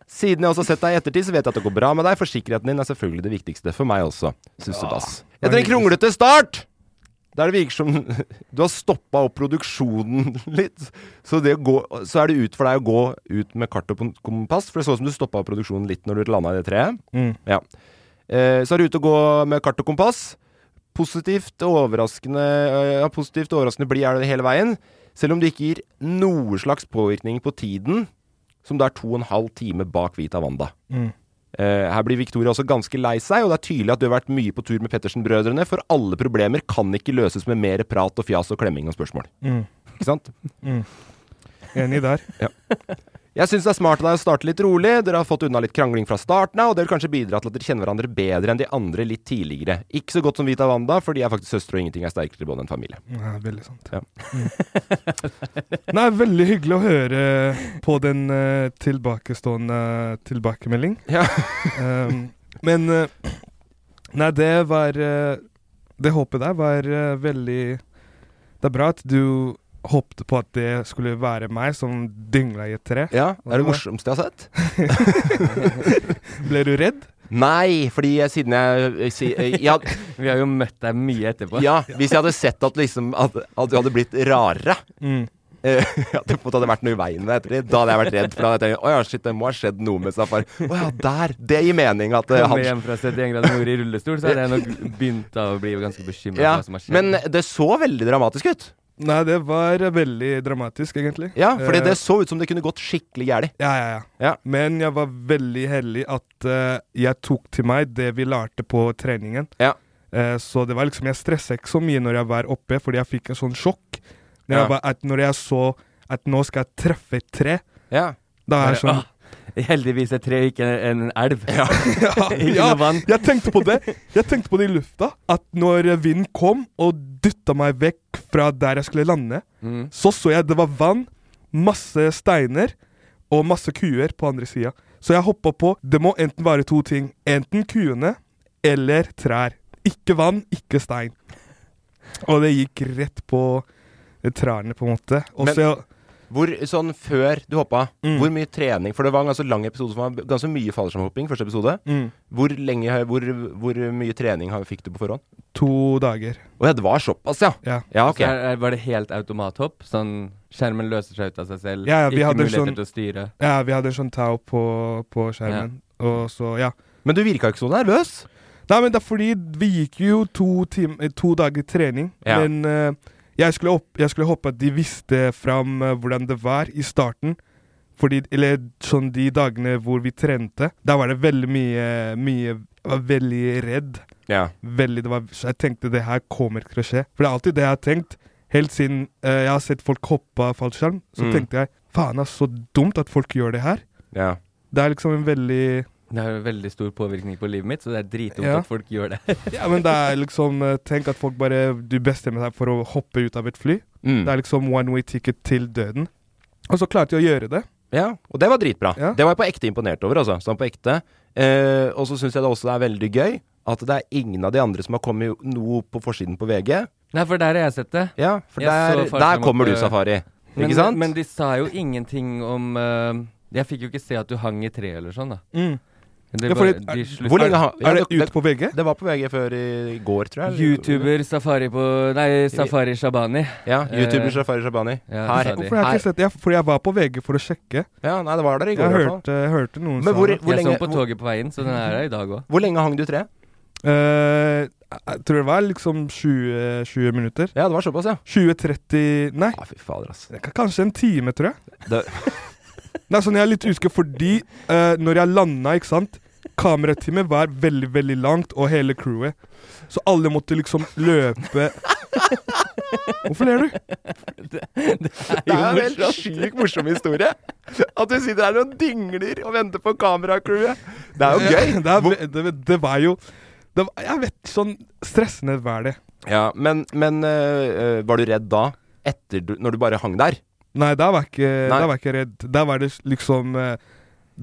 Speaker 2: Siden jeg også har sett deg i ettertid, så vet jeg at det går bra med deg, for sikkerheten din er selvfølgelig det viktigste for meg også. Sussedass. Etter en kronglete start, der det virker som du har stoppa opp produksjonen litt, så, det å gå, så er det ut for deg å gå ut med kart og kompass, for det så ut som du stoppa opp produksjonen litt når du landa i det treet. Ja. Eh, så er du ute og gå med kart og kompass. Positivt og overraskende eh, Ja, positivt og overraskende blid er det hele veien. Selv om det ikke gir noe slags påvirkning på tiden, som det er to og en halv time bak Vita Wanda.
Speaker 3: Mm.
Speaker 2: Eh, her blir Victoria også ganske lei seg, og det er tydelig at du har vært mye på tur med Pettersen-brødrene, for alle problemer kan ikke løses med mer prat og fjas og klemming og spørsmål.
Speaker 3: Mm.
Speaker 2: Ikke sant?
Speaker 3: Enig der.
Speaker 2: Jeg syns det er smart av deg å starte litt rolig. Dere har fått unna litt krangling fra starten av, og det vil kanskje bidra til at dere kjenner hverandre bedre enn de andre litt tidligere. Ikke så godt som Vita Wanda, for de er faktisk søstre, og ingenting er sterkere i bånd enn familie.
Speaker 3: Ja, veldig sant.
Speaker 2: Ja.
Speaker 3: Mm. Nei, veldig hyggelig å høre på den eh, tilbakestående tilbakemelding.
Speaker 2: Ja.
Speaker 3: Ehm, men eh, Nei, det var eh, Det håpet der var eh, veldig Det er bra at du håpte på at det skulle være meg som dingla i et tre.
Speaker 2: Ja,
Speaker 3: det er det
Speaker 2: morsomste jeg har sett?
Speaker 3: Ble du redd?
Speaker 2: Nei, fordi jeg, siden jeg, jeg, si- eh, jeg, jeg hadde-
Speaker 4: Vi har jo møtt deg mye etterpå.
Speaker 2: Ja, hvis jeg hadde sett at, liksom, at, at du hadde blitt rarere
Speaker 4: Mm.
Speaker 2: eh, At det på en måte hadde vært noe i veien med ettertid. Da hadde jeg vært redd. For da hadde jeg tenkt Å ja, shit, det må ha skjedd noe med Safari. Å ja, der! Det gir mening at eh,
Speaker 4: Kommer
Speaker 2: han
Speaker 4: hjem fra 71 grader nord i rullestol, så hadde jeg nok begynt å bli ganske bekymra
Speaker 2: ja,
Speaker 4: for hva som har skjedd.
Speaker 2: Men det så veldig dramatisk ut.
Speaker 3: Nei, det var eh, veldig dramatisk, egentlig.
Speaker 2: Ja, fordi
Speaker 3: Eh,
Speaker 2: det så ut som det kunne gått skikkelig gærent.
Speaker 3: Ja, ja, ja.
Speaker 2: Ja.
Speaker 3: Men jeg var veldig heldig at eh, jeg tok til meg det vi lærte på treningen.
Speaker 2: Ja.
Speaker 3: Eh, så det var liksom, jeg stressa ikke så mye når jeg var oppe, fordi jeg fikk et sånn sjokk.
Speaker 2: Ja.
Speaker 3: Når, jeg, var, at når jeg så at nå skal jeg treffe et tre,
Speaker 2: Ja.
Speaker 3: da er jeg sånn
Speaker 4: Heldigvis et tre, ikke en elv.
Speaker 3: ja,
Speaker 4: Ikke
Speaker 3: ja,
Speaker 4: noe vann.
Speaker 3: jeg tenkte på det Jeg tenkte på det i lufta. At når vinden kom og dytta meg vekk fra der jeg skulle lande, så så jeg det var vann, masse steiner og masse kuer på andre sida. Så jeg hoppa på. Det må enten være to ting. Enten kuene eller trær. Ikke vann, ikke stein. Og det gikk rett på trærne, på en måte. Og
Speaker 2: Men-
Speaker 3: så
Speaker 2: Hvor, sånn før du hoppa,
Speaker 4: Mm.
Speaker 2: hvor mye trening For det var en ganske lang episode som var ganske mye fallskjermhopping. Første episode.
Speaker 4: Mm.
Speaker 2: Hvor, lenge, har- hvor, hvor mye trening har- fikk du på forhånd?
Speaker 3: to dager.
Speaker 2: Å ja, det var såpass, ja.
Speaker 3: Ja.
Speaker 2: Ja, ok.
Speaker 4: Så her, her var det helt automathopp? Sånn skjermen løser seg ut av seg selv?
Speaker 3: Ja, ja, vi
Speaker 4: ikke
Speaker 3: hadde
Speaker 4: muligheter
Speaker 3: sånn-
Speaker 4: til å styre?
Speaker 3: Ja, vi hadde en sånn tau på, på skjermen. Og så, ja.
Speaker 2: Men du virka ikke så nervøs.
Speaker 3: Nei, men det er fordi vi gikk jo to, tim- eh, to dager trening,
Speaker 2: Ja.
Speaker 3: men eh, jeg, skulle opp, jeg skulle håpe at de visste fram eh, hvordan det var i starten. Fordi, eller sånn de dagene hvor vi trente, da var det veldig mye, mye Jeg var veldig redd.
Speaker 2: Ja.
Speaker 3: Veldig, det var, så jeg tenkte det her kommer ikke til å skje. For det er alltid det jeg har tenkt. Helt siden eh, jeg har sett folk hoppe av fallskjerm, så
Speaker 2: Mm.
Speaker 3: tenkte jeg faen, ass, så dumt at folk gjør det her.
Speaker 2: ja.
Speaker 3: Det er liksom en veldig
Speaker 4: Det har jo veldig stor påvirkning på livet mitt, så det er dritdumt
Speaker 3: Ja.
Speaker 4: at folk gjør det.
Speaker 3: Ja, men det er liksom eh, Tenk at folk bare Du bestemmer deg for å hoppe ut av et fly.
Speaker 2: Mm.
Speaker 3: Det er liksom one way ticket til døden. Og så klarte jeg å gjøre det.
Speaker 2: ja. Og det var dritbra.
Speaker 3: Ja.
Speaker 2: Det var jeg på ekte imponert over, altså. Sånn på ekte. Eh, og så syns jeg det også er veldig gøy at det er ingen av de andre som har kommet noe på forsiden på VG.
Speaker 4: Nei, for der har jeg sett det.
Speaker 2: Ja, for
Speaker 4: Jeg så
Speaker 2: der,
Speaker 4: farsen
Speaker 2: der
Speaker 4: om
Speaker 2: kommer
Speaker 4: at,
Speaker 2: du,
Speaker 4: eh,
Speaker 2: Safari.
Speaker 4: Men,
Speaker 2: ikke sant?
Speaker 4: men de sa jo ingenting om eh, Jeg fikk jo ikke se at du hang i tre eller sånn, da.
Speaker 3: Mm.
Speaker 4: Det
Speaker 3: Ja,
Speaker 4: bare,
Speaker 3: fordi- eh,
Speaker 4: de slutt-
Speaker 2: Hvor lenge har ja,
Speaker 3: Er det ut på VG?
Speaker 2: Det var på VG før i går, tror jeg.
Speaker 4: YouTuber Safari på Nei, Safari Shabani.
Speaker 2: Ja, YouTuber
Speaker 4: Eh,
Speaker 2: Safari Shabani.
Speaker 4: ja,
Speaker 2: Her.
Speaker 4: sa de.
Speaker 3: Hvorfor har jeg
Speaker 2: Her.
Speaker 3: ikke sett det? Jeg- Fordi jeg var på VG for å sjekke.
Speaker 2: Ja, nei, det var der i
Speaker 3: Jeg
Speaker 2: går, i hvert fall.
Speaker 3: hørte, jeg hørte noen
Speaker 2: Men
Speaker 3: sa
Speaker 2: hvor,
Speaker 3: det.
Speaker 2: hvor,
Speaker 4: jeg så
Speaker 2: lenge,
Speaker 4: den på
Speaker 2: hvor,
Speaker 4: toget på veien, så den er der i dag òg.
Speaker 2: hvor lenge hang du tre?
Speaker 3: Eh, jeg tror det var liksom 20, 20 minutter.
Speaker 2: Ja, det var såpass, ja.
Speaker 3: 20-30 Nei,
Speaker 2: Å, fy fader, ass.
Speaker 3: k- kanskje en time, tror jeg.
Speaker 2: Det,
Speaker 3: Det er sånn jeg er litt usikker fordi eh, når jeg landa, ikke sant Kamerateamet var veldig, veldig langt, og hele crewet. Så alle måtte liksom løpe Hvorfor ler du?
Speaker 2: det er en helt sykt morsom historie. At du sitter her og dingler og venter på kameracrewet. Det er jo gøy.
Speaker 3: Det, er, ve- det, det var jo det var, Jeg vet sånn stressende var det.
Speaker 2: Ja, men, men øh, øh, var du redd da? Etter du, når du bare hang der?
Speaker 3: Nei, da var jeg ikke,
Speaker 2: Nei.
Speaker 3: da var jeg ikke redd. Da var det liksom eh,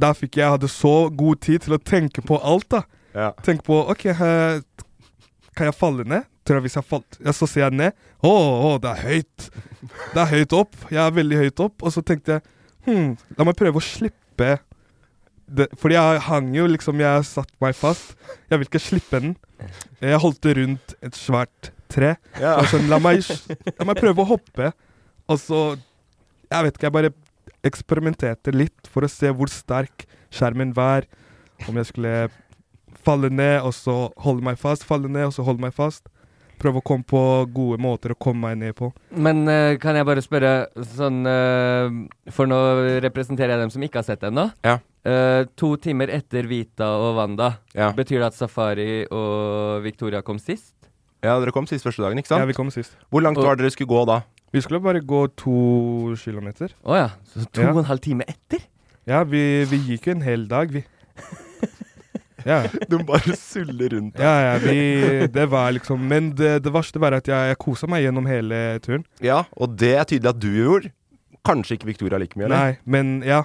Speaker 3: Da fikk jeg hadde så god tid til å tenke på alt, da.
Speaker 2: Ja.
Speaker 3: Tenk på OK, eh, kan jeg falle ned? Tror jeg hvis jeg falt ja, Så ser jeg ned. Å, å, det er høyt. Det er høyt opp. Jeg er veldig høyt opp. Og så tenkte jeg hm, la meg prøve å slippe det. Fordi jeg hang jo liksom Jeg satt meg fast. Jeg vil ikke slippe den. Jeg holdt det rundt et svært tre.
Speaker 2: Ja.
Speaker 3: Og sånn, la, meg, la meg prøve å hoppe. Og så Jeg vet ikke, jeg bare eksperimenterte litt for å se hvor sterk skjermen var. Om jeg skulle falle ned, og så holde meg fast. Falle ned, og så holde meg fast. Prøve å komme på gode måter å komme meg ned på.
Speaker 4: Men eh, kan jeg bare spørre sånn eh, For nå representerer jeg dem som ikke har sett det ennå.
Speaker 2: Ja.
Speaker 4: Eh, to timer etter Vita og Wanda,
Speaker 2: Ja.
Speaker 4: betyr det at Safari og Victoria kom sist?
Speaker 2: ja, dere kom sist første dagen, ikke
Speaker 3: Ja,
Speaker 2: sant?
Speaker 3: vi kom sist.
Speaker 2: Hvor langt var det dere skulle gå da?
Speaker 3: Vi skulle bare gå to kilometer.
Speaker 4: Å ja. Så to
Speaker 3: Ja.
Speaker 4: og en halv time etter?
Speaker 3: Ja, vi, vi gikk jo en hel dag, vi. Ja,
Speaker 2: Du bare suller rundt.
Speaker 3: ja, ja vi, det var liksom Men det, det verste var at jeg, jeg kosa meg gjennom hele turen.
Speaker 2: Ja, og det er tydelig at du gjorde. Kanskje ikke Victoria like mye, eller?
Speaker 3: Nei, men ja.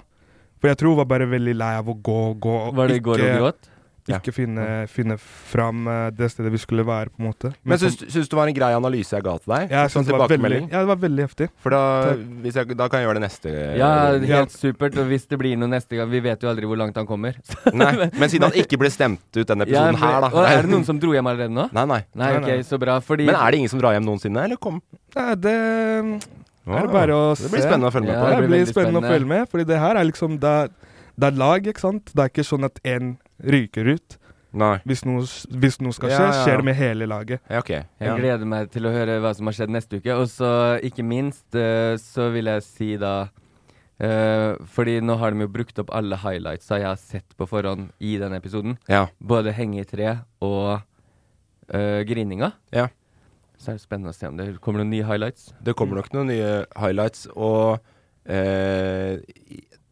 Speaker 3: For jeg tror hun var bare veldig lei av å gå og gå. og
Speaker 4: Var det i går og gråt?
Speaker 2: Ja.
Speaker 3: Ikke finne, finne fram eh, det stedet vi skulle være, på en måte.
Speaker 2: Men syns, syns du det var en grei analyse jeg ga til deg?
Speaker 3: sånn- jeg
Speaker 2: Sånn
Speaker 3: synes det var veldig,
Speaker 2: tilbakemelding?
Speaker 3: ja, det var veldig heftig.
Speaker 2: For da,
Speaker 3: Takk.
Speaker 2: hvis jeg, da kan jeg gjøre det neste
Speaker 4: Ja, helt
Speaker 3: Ja.
Speaker 4: supert. Og hvis det blir noe neste gang Vi vet jo aldri hvor langt han kommer.
Speaker 2: Nei, Men siden han ikke ble stemt ut denne
Speaker 4: Ja,
Speaker 2: episoden
Speaker 4: men-
Speaker 2: her, da
Speaker 4: Å, er det noen som dro hjem allerede nå?
Speaker 2: Nei, nei.
Speaker 4: Nei,
Speaker 3: Nei,
Speaker 4: ok,
Speaker 3: nei.
Speaker 4: så bra. Fordi
Speaker 2: Men er det ingen som drar hjem noensinne, eller kom?
Speaker 3: Nei, det er det bare å se.
Speaker 2: Det blir spennende å følge med
Speaker 4: Ja,
Speaker 2: på.
Speaker 3: Ja, det blir
Speaker 4: veldig
Speaker 3: spennende å
Speaker 4: spennende.
Speaker 3: følge med, Fordi det her er liksom Det er, det er lag, ikke sant? Det er ikke sånn at én ryker ut.
Speaker 2: Nei.
Speaker 3: Hvis noe, s- hvis noe skal
Speaker 2: Ja,
Speaker 3: skje,
Speaker 2: ja, ja.
Speaker 3: skjer det med hele laget.
Speaker 2: Ja, ok.
Speaker 4: Jeg
Speaker 2: Ja.
Speaker 4: gleder meg til å høre hva som har skjedd neste uke. Og så ikke minst eh, så vil jeg si da eh, Fordi nå har de jo brukt opp alle highlightsa jeg har sett på forhånd i denne episoden.
Speaker 2: Ja.
Speaker 4: Både henge i tre og eh, grininga.
Speaker 2: Ja.
Speaker 4: Så er det spennende å se om det kommer noen nye highlights.
Speaker 2: Det kommer nok noen nye highlights, og eh,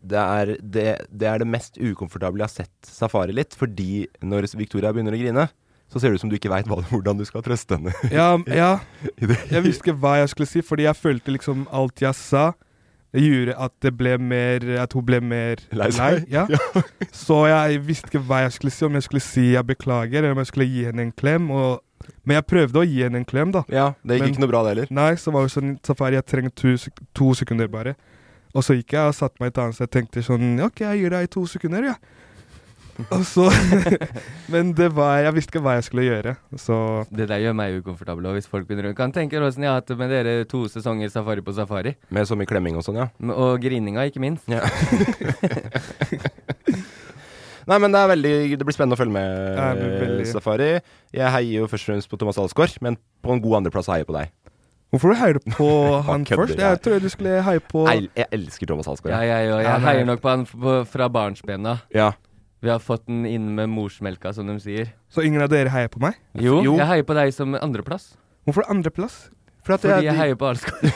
Speaker 2: det, er det, det er det mest ukomfortable jeg har sett Safari litt, fordi når Victoria begynner å grine, så ser det ut som du ikke veit hvordan du skal trøste henne.
Speaker 3: Ja, ja,
Speaker 2: i det.
Speaker 3: jeg visste ikke hva jeg skulle si, fordi jeg følte liksom alt jeg sa, gjorde at det ble mer At hun ble mer
Speaker 2: Lei seg.
Speaker 3: Ja. Så jeg visste ikke hva jeg skulle si, om jeg skulle si jeg beklager, eller om jeg skulle gi henne en klem. Og, men jeg prøvde å gi henne en klem, da.
Speaker 2: Ja, det gikk
Speaker 3: Men-
Speaker 2: ikke noe bra, det heller.
Speaker 3: Nei, så var det sånn safari, jeg trenger to, sek- to sekunder bare. Og så gikk jeg og satte meg et annet sted og tenkte sånn «Ja, OK, jeg gir deg to sekunder, ja. Og så Men det var Jeg visste ikke hva jeg skulle gjøre, så
Speaker 4: Det der gjør meg ukomfortabel. Og hvis folk begynner å Kan tenke dere åssen jeg har hatt det med dere to sesonger safari på safari.
Speaker 2: Med så mye klemming og sånn, ja.
Speaker 4: M- Og grininga, ikke minst.
Speaker 2: Nei, men det, er veldig, det blir spennende å følge med,
Speaker 3: Ja, det blir veldig-
Speaker 2: eh, Safari. Jeg heier jo først og fremst på Thomas Alsgaard, men på en god andreplass heier jeg på deg.
Speaker 3: Hvorfor heier du på han
Speaker 2: kødder
Speaker 3: først?
Speaker 2: jeg.
Speaker 3: Jeg tror du skulle heie på
Speaker 2: Jeg, jeg elsker Thomas
Speaker 4: Ja,
Speaker 2: Alsgaard.
Speaker 4: jeg òg.
Speaker 3: Ja,
Speaker 4: Jeg
Speaker 3: nei.
Speaker 4: heier nok på han f- på, fra barnsbena.
Speaker 2: Ja.
Speaker 4: Vi har fått den inn med morsmelka, som de sier.
Speaker 3: Så ingen av dere heier på meg?
Speaker 4: Jo,
Speaker 2: Jo.
Speaker 4: jeg heier på deg som andreplass.
Speaker 3: Hvorfor andreplass?
Speaker 4: Fordi jeg heier på Alsgaard.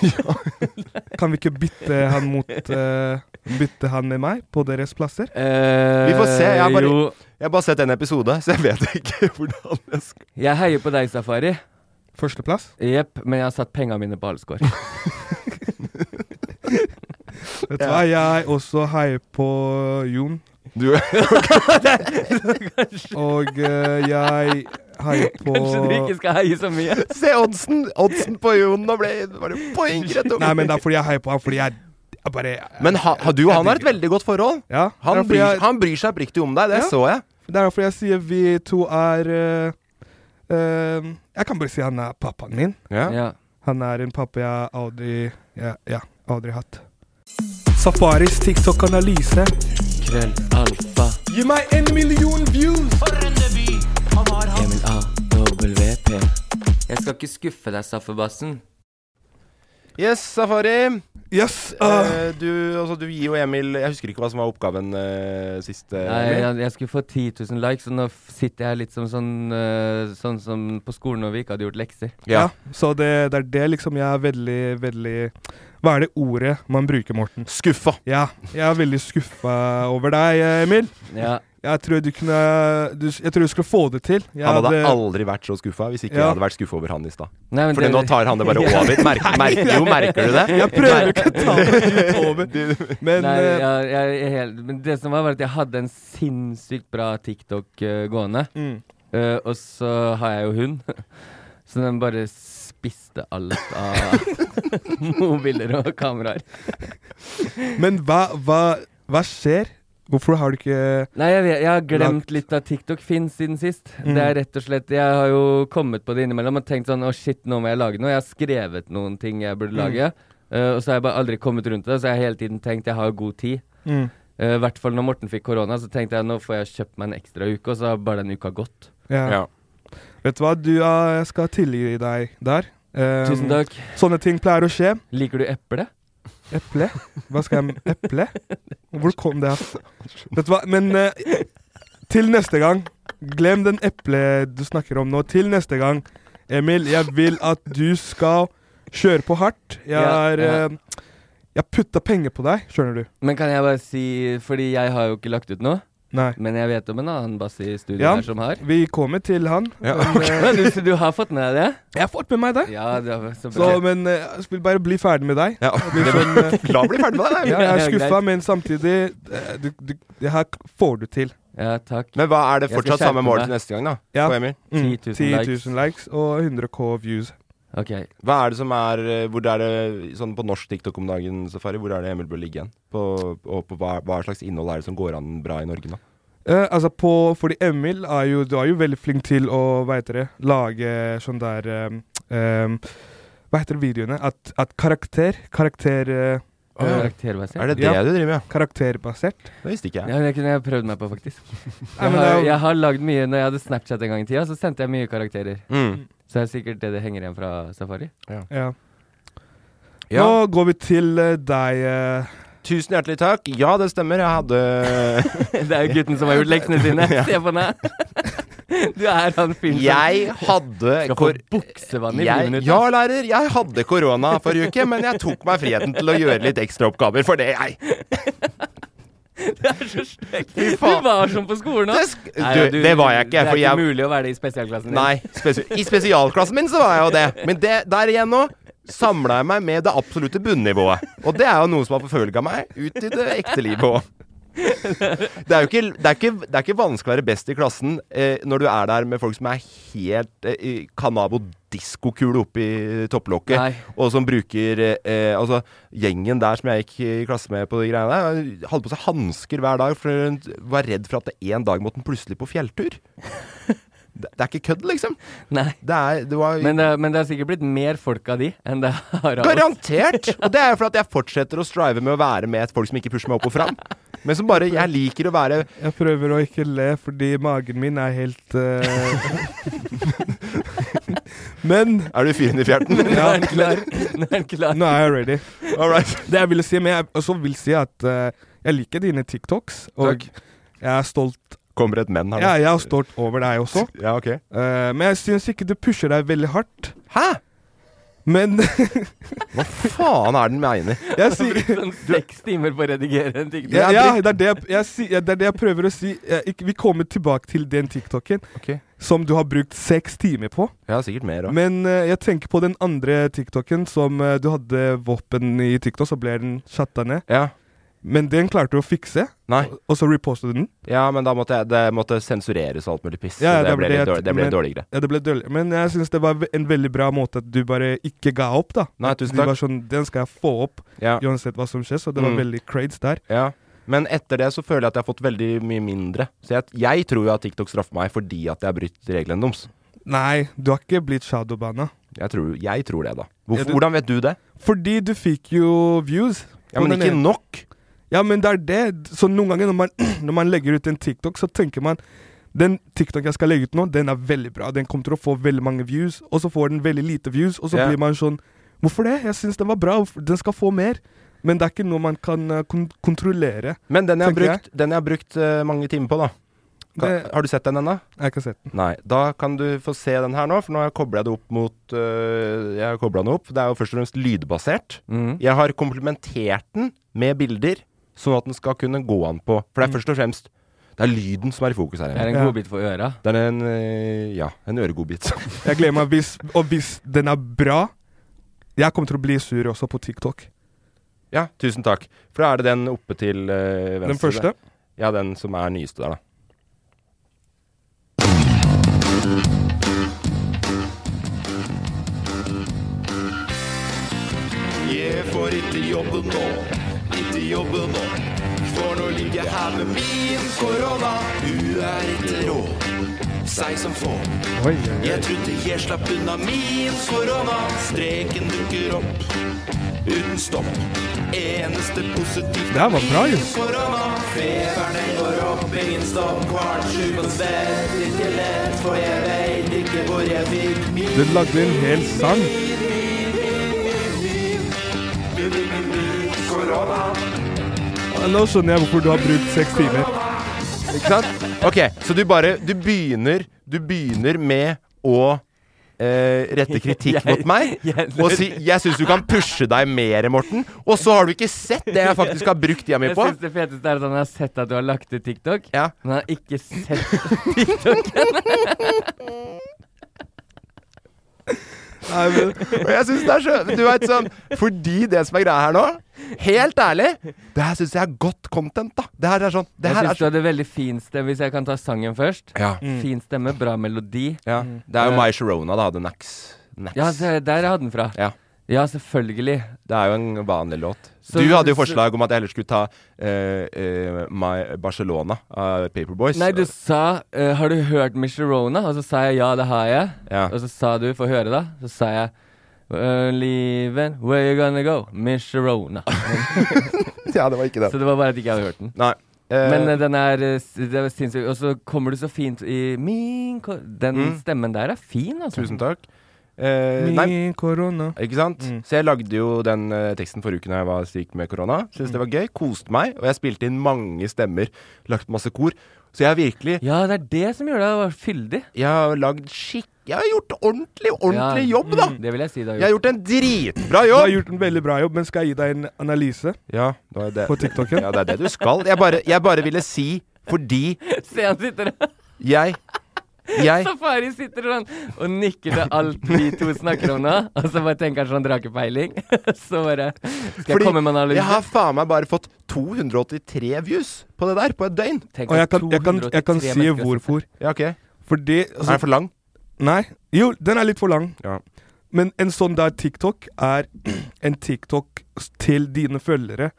Speaker 3: Kan vi ikke bytte han mot eh, Bytte han med meg på deres plasser?
Speaker 2: Eh, Vi får se, jeg bare-
Speaker 4: Jo,
Speaker 2: Jeg har bare sett en episode, så jeg vet ikke hvordan jeg skal
Speaker 4: jeg heier på deg, Safari.
Speaker 3: Førsteplass?
Speaker 4: Jepp, men jeg har satt penga mine på Alsgaard.
Speaker 3: Vet du hva, jeg også heier på Jon
Speaker 2: Du,
Speaker 3: Og eh, jeg heier på
Speaker 4: Kanskje dere ikke skal heie så mye?
Speaker 2: se oddsen! Oddsen på Jon nå ble bare poeng rett over.
Speaker 3: Nei, men det er fordi jeg heier på han, fordi jeg, jeg bare
Speaker 2: Men ha, ha, du og han har et veldig godt forhold.
Speaker 3: ja,
Speaker 2: Han
Speaker 3: det er fordi
Speaker 2: bryr,
Speaker 3: jeg-
Speaker 2: han bryr seg oppriktig om deg, det
Speaker 3: Ja.
Speaker 2: så jeg.
Speaker 3: Det er derfor jeg sier vi to er eh, eh, Jeg kan bare si han er pappaen min.
Speaker 4: Ja.
Speaker 3: Han er en pappa jeg aldri ja, ja, aldri hatt. Safaris TikTok-analyse.
Speaker 5: Krøll, alfa,
Speaker 3: Gi meg en million views!
Speaker 5: Emil A, WP. Jeg skal ikke skuffe deg, Saffebassen.
Speaker 2: Yes, Safari.
Speaker 3: Yes! øh,
Speaker 2: Eh, du, altså, du gir jo Emil Jeg husker ikke hva som var oppgaven eh, sist. eh,
Speaker 4: Nei,
Speaker 2: Emil.
Speaker 4: jeg, jeg skulle få 10 000 likes, og nå f- sitter jeg litt som sånn, eh, sånn som på skolen når vi ikke hadde gjort lekser.
Speaker 2: ja.
Speaker 3: ja. Så det, det er det liksom jeg er veldig, veldig Hva er det ordet man bruker, Morten?
Speaker 2: Skuffa.
Speaker 3: Ja, jeg er veldig skuffa over deg, eh, Emil.
Speaker 4: Ja.
Speaker 3: Jeg tror du kunne du, Jeg tror du skulle få det til. Jeg
Speaker 2: Han hadde
Speaker 3: hadde-
Speaker 2: aldri vært så skuffa hvis ikke jeg
Speaker 3: Ja.
Speaker 2: hadde vært skuffa over han i stad.
Speaker 4: Nei, men
Speaker 2: For nå tar han det bare
Speaker 4: Ja.
Speaker 2: over. Merker, merker, jo, merker du det?
Speaker 3: Jeg prøver ikke å ta det dypt over. Men
Speaker 4: Nei,
Speaker 3: eh,
Speaker 4: jeg, jeg, er helt, men det som var, var at jeg hadde en sinnssykt bra TikTok eh, gående.
Speaker 3: Mm.
Speaker 4: Eh, og så har jeg jo hund, så den bare spiste alt av mobiler og kameraer.
Speaker 3: eh, Men hva, hva, hva skjer? Hvorfor har du ikke
Speaker 4: Nei, jeg, vet, jeg har glemt
Speaker 3: Lagt.
Speaker 4: litt av TikTok Fins siden sist.
Speaker 3: Mm.
Speaker 4: Det er rett og slett Jeg har jo kommet på det innimellom og tenkt sånn Å, shit, nå må jeg lage noe. Jeg har skrevet noen ting jeg burde
Speaker 3: Mm.
Speaker 4: lage. eh, og så har jeg bare aldri kommet rundt det, så jeg har hele tiden tenkt jeg har god tid.
Speaker 3: Mm.
Speaker 4: Eh, I hvert fall når Morten fikk korona, så tenkte jeg nå får jeg kjøpt meg en ekstra uke, og så har bare den uka gått.
Speaker 3: ja.
Speaker 2: Ja.
Speaker 3: Vet du hva, du eh, jeg skal tilgi deg der. Eh,
Speaker 4: Tusen takk.
Speaker 3: Sånne ting pleier å skje.
Speaker 4: Liker du eple?
Speaker 3: Eple? Hva skal jeg med eple? Hvor kom det her? Vet du hva, men eh, til neste gang Glem den eple du snakker om nå. Til neste gang, Emil, jeg vil at du skal kjøre på hardt. Jeg
Speaker 4: Ja,
Speaker 3: har
Speaker 4: ja.
Speaker 3: eh, Jeg putta penger på deg, skjønner du.
Speaker 4: Men kan jeg bare si, fordi jeg har jo ikke lagt ut noe,
Speaker 3: Nei.
Speaker 4: men jeg vet om en annen bass i studio
Speaker 3: Ja.
Speaker 4: her som har.
Speaker 3: Vi kommer til han.
Speaker 2: Ja,
Speaker 3: men, eh,
Speaker 4: Men du, du har fått med deg det?
Speaker 3: Jeg har fått med meg det.
Speaker 4: Ja, det var
Speaker 3: Så,
Speaker 4: så bra.
Speaker 3: men eh, jeg vil bare bli ferdig med deg.
Speaker 2: Ja.
Speaker 3: Det blir sånn, eh,
Speaker 2: La bli ferdig med det.
Speaker 3: ja, jeg er
Speaker 4: Ja,
Speaker 3: skuffa,
Speaker 4: greit.
Speaker 3: men samtidig eh, du, du, Det her får du til.
Speaker 4: Ja, takk.
Speaker 2: Men hva er det
Speaker 4: Jeg skal
Speaker 2: fortsatt samme
Speaker 4: skjerpe
Speaker 2: mål
Speaker 4: meg.
Speaker 2: til neste gang, da?
Speaker 3: Ja.
Speaker 2: På Emil?
Speaker 4: 10 000 likes.
Speaker 3: 10 000 Mm. likes og 100 K views.
Speaker 4: Ok.
Speaker 2: Hva er det som er eh, Hvor er det sånn på norsk TikTok om dagen, Safari? Hvor er det Emil bør ligge igjen? På, og på hva, hva slags innhold er det som går an bra i Norge nå?
Speaker 3: Eh, altså på, fordi Emil er jo, du er jo veldig flink til å hva heter det, lage sånn der eh, eh, Hva heter det, videoene? At, at karakter Karakter eh, eh,
Speaker 4: Karakterbasert.
Speaker 2: Er det det
Speaker 3: Ja.
Speaker 2: du driver med?
Speaker 3: Karakterbasert.
Speaker 2: Ja? Det visste ikke jeg.
Speaker 4: Ja, det kunne jeg prøvd meg på, faktisk.
Speaker 3: Nei,
Speaker 4: Jeg
Speaker 3: men
Speaker 4: har,
Speaker 3: det er jo-
Speaker 4: jeg har lagd mye Når jeg hadde Snapchat en gang i tida, så sendte jeg mye karakterer.
Speaker 2: Mm.
Speaker 4: Så det er sikkert det det henger igjen fra Safari.
Speaker 3: ja.
Speaker 2: Ja.
Speaker 3: Nå går vi til eh, deg. eh,
Speaker 2: Tusen hjertelig takk. Ja, det stemmer. Jeg hadde eh,
Speaker 4: Det er jo gutten som har gjort leksene sine. Se på meg. Du er han fyren som
Speaker 2: Jeg hadde
Speaker 4: skal få
Speaker 2: kor
Speaker 4: buksevann i fire
Speaker 2: jeg,
Speaker 4: minutter.
Speaker 2: ja, lærer, jeg hadde korona forrige uke, men jeg tok meg friheten til å gjøre litt ekstraoppgaver for det, jeg.
Speaker 4: Det er så stygt.
Speaker 2: Fy
Speaker 4: Du
Speaker 2: faen.
Speaker 4: var som på skolen
Speaker 2: Det
Speaker 4: òg.
Speaker 2: sk- du, det var jeg ikke,
Speaker 4: Det er
Speaker 2: for
Speaker 4: ikke
Speaker 2: jeg-
Speaker 4: mulig å være det i spesialklassen din.
Speaker 2: Nei, spesi i spesialklassen min så var jeg jo det. Men det, der igjen nå samla jeg meg med det absolutte bunnivået. Og det er jo noe som har forfølga meg ut i det ekte livet òg. Det er jo ikke, det er ikke, det er ikke vanskelig å være best i klassen eh, når du er der med folk som er helt eh, i Canabo diskokule oppi topplokket,
Speaker 4: Nei.
Speaker 2: og som bruker eh, eh, Altså, gjengen der som jeg gikk i klasse med på de greiene der, hadde på seg hansker hver dag, for hun var redd for at en dag måtte hun plutselig på fjelltur. Det, det er ikke kødd, liksom.
Speaker 4: Nei.
Speaker 2: Det er Det var
Speaker 4: Men, det, men det har sikkert blitt mer folk av de enn det har av oss.
Speaker 2: Garantert! Og det er jo fordi at jeg fortsetter å strive med å være med folk som ikke pusher meg opp og fram. Men som bare Jeg liker å være
Speaker 3: Jeg prøver å ikke le fordi magen min er helt eh, Men
Speaker 2: Er du fyren i fjerten?
Speaker 4: Nå
Speaker 3: ja,
Speaker 4: er han klar. Nå er han klar.
Speaker 3: nå er jeg ready.
Speaker 2: All right.
Speaker 3: Det jeg ville si, men jeg også vil si at eh, jeg liker dine TikToks, og
Speaker 2: Takk.
Speaker 3: jeg er stolt
Speaker 2: Kommer et menn her
Speaker 3: ja,
Speaker 2: nå.
Speaker 3: Jeg er stolt over deg også,
Speaker 2: Ja, ok.
Speaker 3: Eh, men jeg syns ikke du pusher deg veldig hardt.
Speaker 2: Hæ?
Speaker 3: Men
Speaker 2: Hva faen er den mener?
Speaker 3: jeg sier
Speaker 4: Sånn seks timer på å redigere en TikTok.
Speaker 3: ja,
Speaker 2: er
Speaker 3: ja,
Speaker 2: dritt.
Speaker 3: det, er det, jeg, jeg, sier- det er det jeg prøver å si. Jeg, ikke, vi kommer tilbake til den TikToken
Speaker 2: Ok.
Speaker 3: som du har brukt seks timer på.
Speaker 2: Jeg har sikkert mer òg.
Speaker 3: Men eh, jeg tenker på den andre TikToken som eh, du hadde våpen i TikTok, så ble den chatta ned.
Speaker 2: Ja.
Speaker 3: Men den klarte du å fikse,
Speaker 2: Nei.
Speaker 3: og så repostet du den.
Speaker 2: Ja, men da måtte jeg, det måtte sensureres og alt mulig piss.
Speaker 3: Ja,
Speaker 2: så det,
Speaker 3: ja, det
Speaker 2: ble
Speaker 3: ble
Speaker 2: litt
Speaker 3: et-
Speaker 2: dårlig, det ble
Speaker 3: men-
Speaker 2: dårligere.
Speaker 3: Ja, det ble døll. Men jeg syns det var ve- en veldig bra måte at du bare ikke ga opp, da.
Speaker 2: Nei, tusen
Speaker 3: Du var
Speaker 2: takk.
Speaker 3: sånn, Den skal jeg få opp,
Speaker 2: Ja,
Speaker 3: uansett hva som skjer. Så det var
Speaker 2: Mm.
Speaker 3: veldig crades der.
Speaker 2: ja. Men etter det så føler jeg at jeg har fått veldig mye mindre. Så jeg, jeg tror jo at TikTok straffer meg fordi at jeg har brutt reglene deres.
Speaker 3: Nei, du har ikke blitt shadowbanna.
Speaker 2: Jeg tror, jeg tror det, da. Hvorfor,
Speaker 3: Ja, du-
Speaker 2: Hvordan vet du det?
Speaker 3: Fordi du fikk jo views.
Speaker 2: Ja, Men
Speaker 3: på den
Speaker 2: ikke
Speaker 3: ene.
Speaker 2: nok!
Speaker 3: Ja, men det er det. Så noen ganger når man, når man legger ut en TikTok, så tenker man den TikTok jeg skal legge ut nå, den er veldig bra. Den kommer til å få veldig mange views, og så får den veldig lite views, og så
Speaker 2: Ja.
Speaker 3: blir man sånn Hvorfor det? Jeg syns den var bra. Hvorfor- Den skal få mer. Men det er ikke noe man kan eh, kon kontrollere.
Speaker 2: Men den jeg har
Speaker 3: Tenker jeg.
Speaker 2: brukt, den jeg har brukt eh, mange timer på, da. Ka,
Speaker 3: Det-
Speaker 2: Har du sett den ennå?
Speaker 3: Jeg har ikke sett den.
Speaker 2: Nei. Da kan du få se den her nå, for nå har jeg kobla det opp mot øh, Jeg har koblet den opp. Det er jo først og fremst lydbasert.
Speaker 4: Mm.
Speaker 2: Jeg har komplementert den med bilder, sånn at den skal kunne gå an på For det er først og fremst Det er lyden som er i fokus her.
Speaker 4: Det er
Speaker 2: Emil.
Speaker 4: en
Speaker 3: Ja.
Speaker 4: godbit for øra.
Speaker 2: Det er en øh, Ja, en øregodbit.
Speaker 3: Jeg gleder meg hvis Og hvis den er bra Jeg kommer til å bli sur også på TikTok.
Speaker 2: ja, tusen takk. For da er det den oppe til øh, venstre.
Speaker 3: Den første.
Speaker 2: Ja, den som er nyeste der, da.
Speaker 6: Jeg får ikke jobbe nå, ikke jobbe nå. For nå ligger jeg her med min korona. Hun er ikke rå, seig som få. Jeg trodde jeg slapp unna min korona. Streken dukker opp, uten stopp. Eneste positivt
Speaker 3: Det her var bra, jo.
Speaker 6: min korona. Feberen den går opp, ingen stopp. Kvart sju på svett, ikke lett, for jeg veit ikke hvor jeg fikk min
Speaker 3: Du lagde en hel sang.
Speaker 6: korona.
Speaker 3: Nå skjønner jeg hvorfor du har brukt seks timer.
Speaker 2: Ikke sant? Ok, så du bare Du begynner Du begynner med å eh, rette kritikk
Speaker 4: Jeg-
Speaker 2: mot meg
Speaker 4: jeg-
Speaker 2: og si 'jeg syns du kan pushe deg mer, Morten', og så har du ikke sett det jeg faktisk har brukt tida mi
Speaker 4: Jeg
Speaker 2: på.
Speaker 4: syns det feteste er at han har sett at du har lagt ut TikTok,
Speaker 2: Ja.
Speaker 4: men han har ikke sett
Speaker 3: Nei, men,
Speaker 2: Og jeg syns det er så Du vet sånn Fordi det som er greia her nå, helt ærlig, det her syns jeg er godt content, da. Det her er sånn Det
Speaker 4: Jeg
Speaker 2: her
Speaker 4: syns
Speaker 2: er
Speaker 4: du
Speaker 2: sånn
Speaker 4: hadde veldig fin stemme, hvis jeg kan ta sangen først.
Speaker 2: ja.
Speaker 4: Fin stemme, bra melodi.
Speaker 2: ja. Det er jo My Sharona, da. The Nax. Nax.
Speaker 4: Mm. Ja, se, der hadde den fra.
Speaker 2: Ja.
Speaker 4: Ja, selvfølgelig.
Speaker 2: Det er jo en vanlig låt.
Speaker 4: Så-
Speaker 2: du hadde jo
Speaker 4: så-
Speaker 2: forslag om at jeg heller skulle ta eh, eh, My Barcelona av Paperboys.
Speaker 4: Nei, du sa eh, 'Har du hørt Michelona?' Og så sa jeg 'Ja, det har jeg'.
Speaker 2: Ja.
Speaker 4: Og så sa du 'Få høre', da. Så sa jeg «We're leaving, where you gonna go? Michelona.
Speaker 2: Ja, det var ikke
Speaker 4: Så det var bare at ikke jeg hadde hørt den.
Speaker 2: Nei. eh,
Speaker 4: Men eh, den er eh, s- det er sinnssyk. Og så kommer du så fint i min ko Den stemmen der er fin, altså.
Speaker 2: tusen takk. Eh, nei,
Speaker 3: min korona.
Speaker 2: ikke sant?
Speaker 4: Mm.
Speaker 2: Så jeg lagde jo den eh, teksten forrige uke når jeg var syk med korona.
Speaker 4: Mm.
Speaker 2: Syntes det var gøy. Koste meg. Og jeg spilte inn mange stemmer. Lagt masse kor. Så jeg har virkelig
Speaker 4: Ja, det er det som gjør deg fyldig.
Speaker 2: Jeg har lagd skikk... Jeg har gjort ordentlig, ordentlig
Speaker 4: Ja. Mm,
Speaker 2: jobb, da!
Speaker 4: Det vil jeg si du har
Speaker 2: Jeg har
Speaker 4: gjort.
Speaker 2: gjort en dritbra
Speaker 3: Du har
Speaker 2: jobb!
Speaker 3: gjort en veldig bra jobb, men skal jeg gi deg en analyse?
Speaker 2: Ja, det var det.
Speaker 3: På TikToken?
Speaker 2: Ja, det er det du skal. Jeg bare, jeg bare ville si fordi
Speaker 4: Se, han sitter der.
Speaker 2: Jeg Jeg
Speaker 4: Safari sitter sånn og nikker til alt vi to snakker om nå, og så bare tenker han sånn drakepeiling. Så bare Skal jeg komme med en
Speaker 2: jeg
Speaker 4: analyse?
Speaker 2: har faen meg bare fått 283 views på det der, på et døgn.
Speaker 4: Tenk
Speaker 3: Og jeg
Speaker 4: at
Speaker 3: kan, jeg kan, jeg kan
Speaker 4: 283
Speaker 3: si
Speaker 4: mennesker
Speaker 3: hvorfor.
Speaker 2: Ja, ok.
Speaker 3: Fordi
Speaker 2: Er den
Speaker 3: altså,
Speaker 2: for lang?
Speaker 3: Nei. Jo, den er litt for lang.
Speaker 2: Ja.
Speaker 3: Men en sånn der TikTok er en TikTok til dine følgere.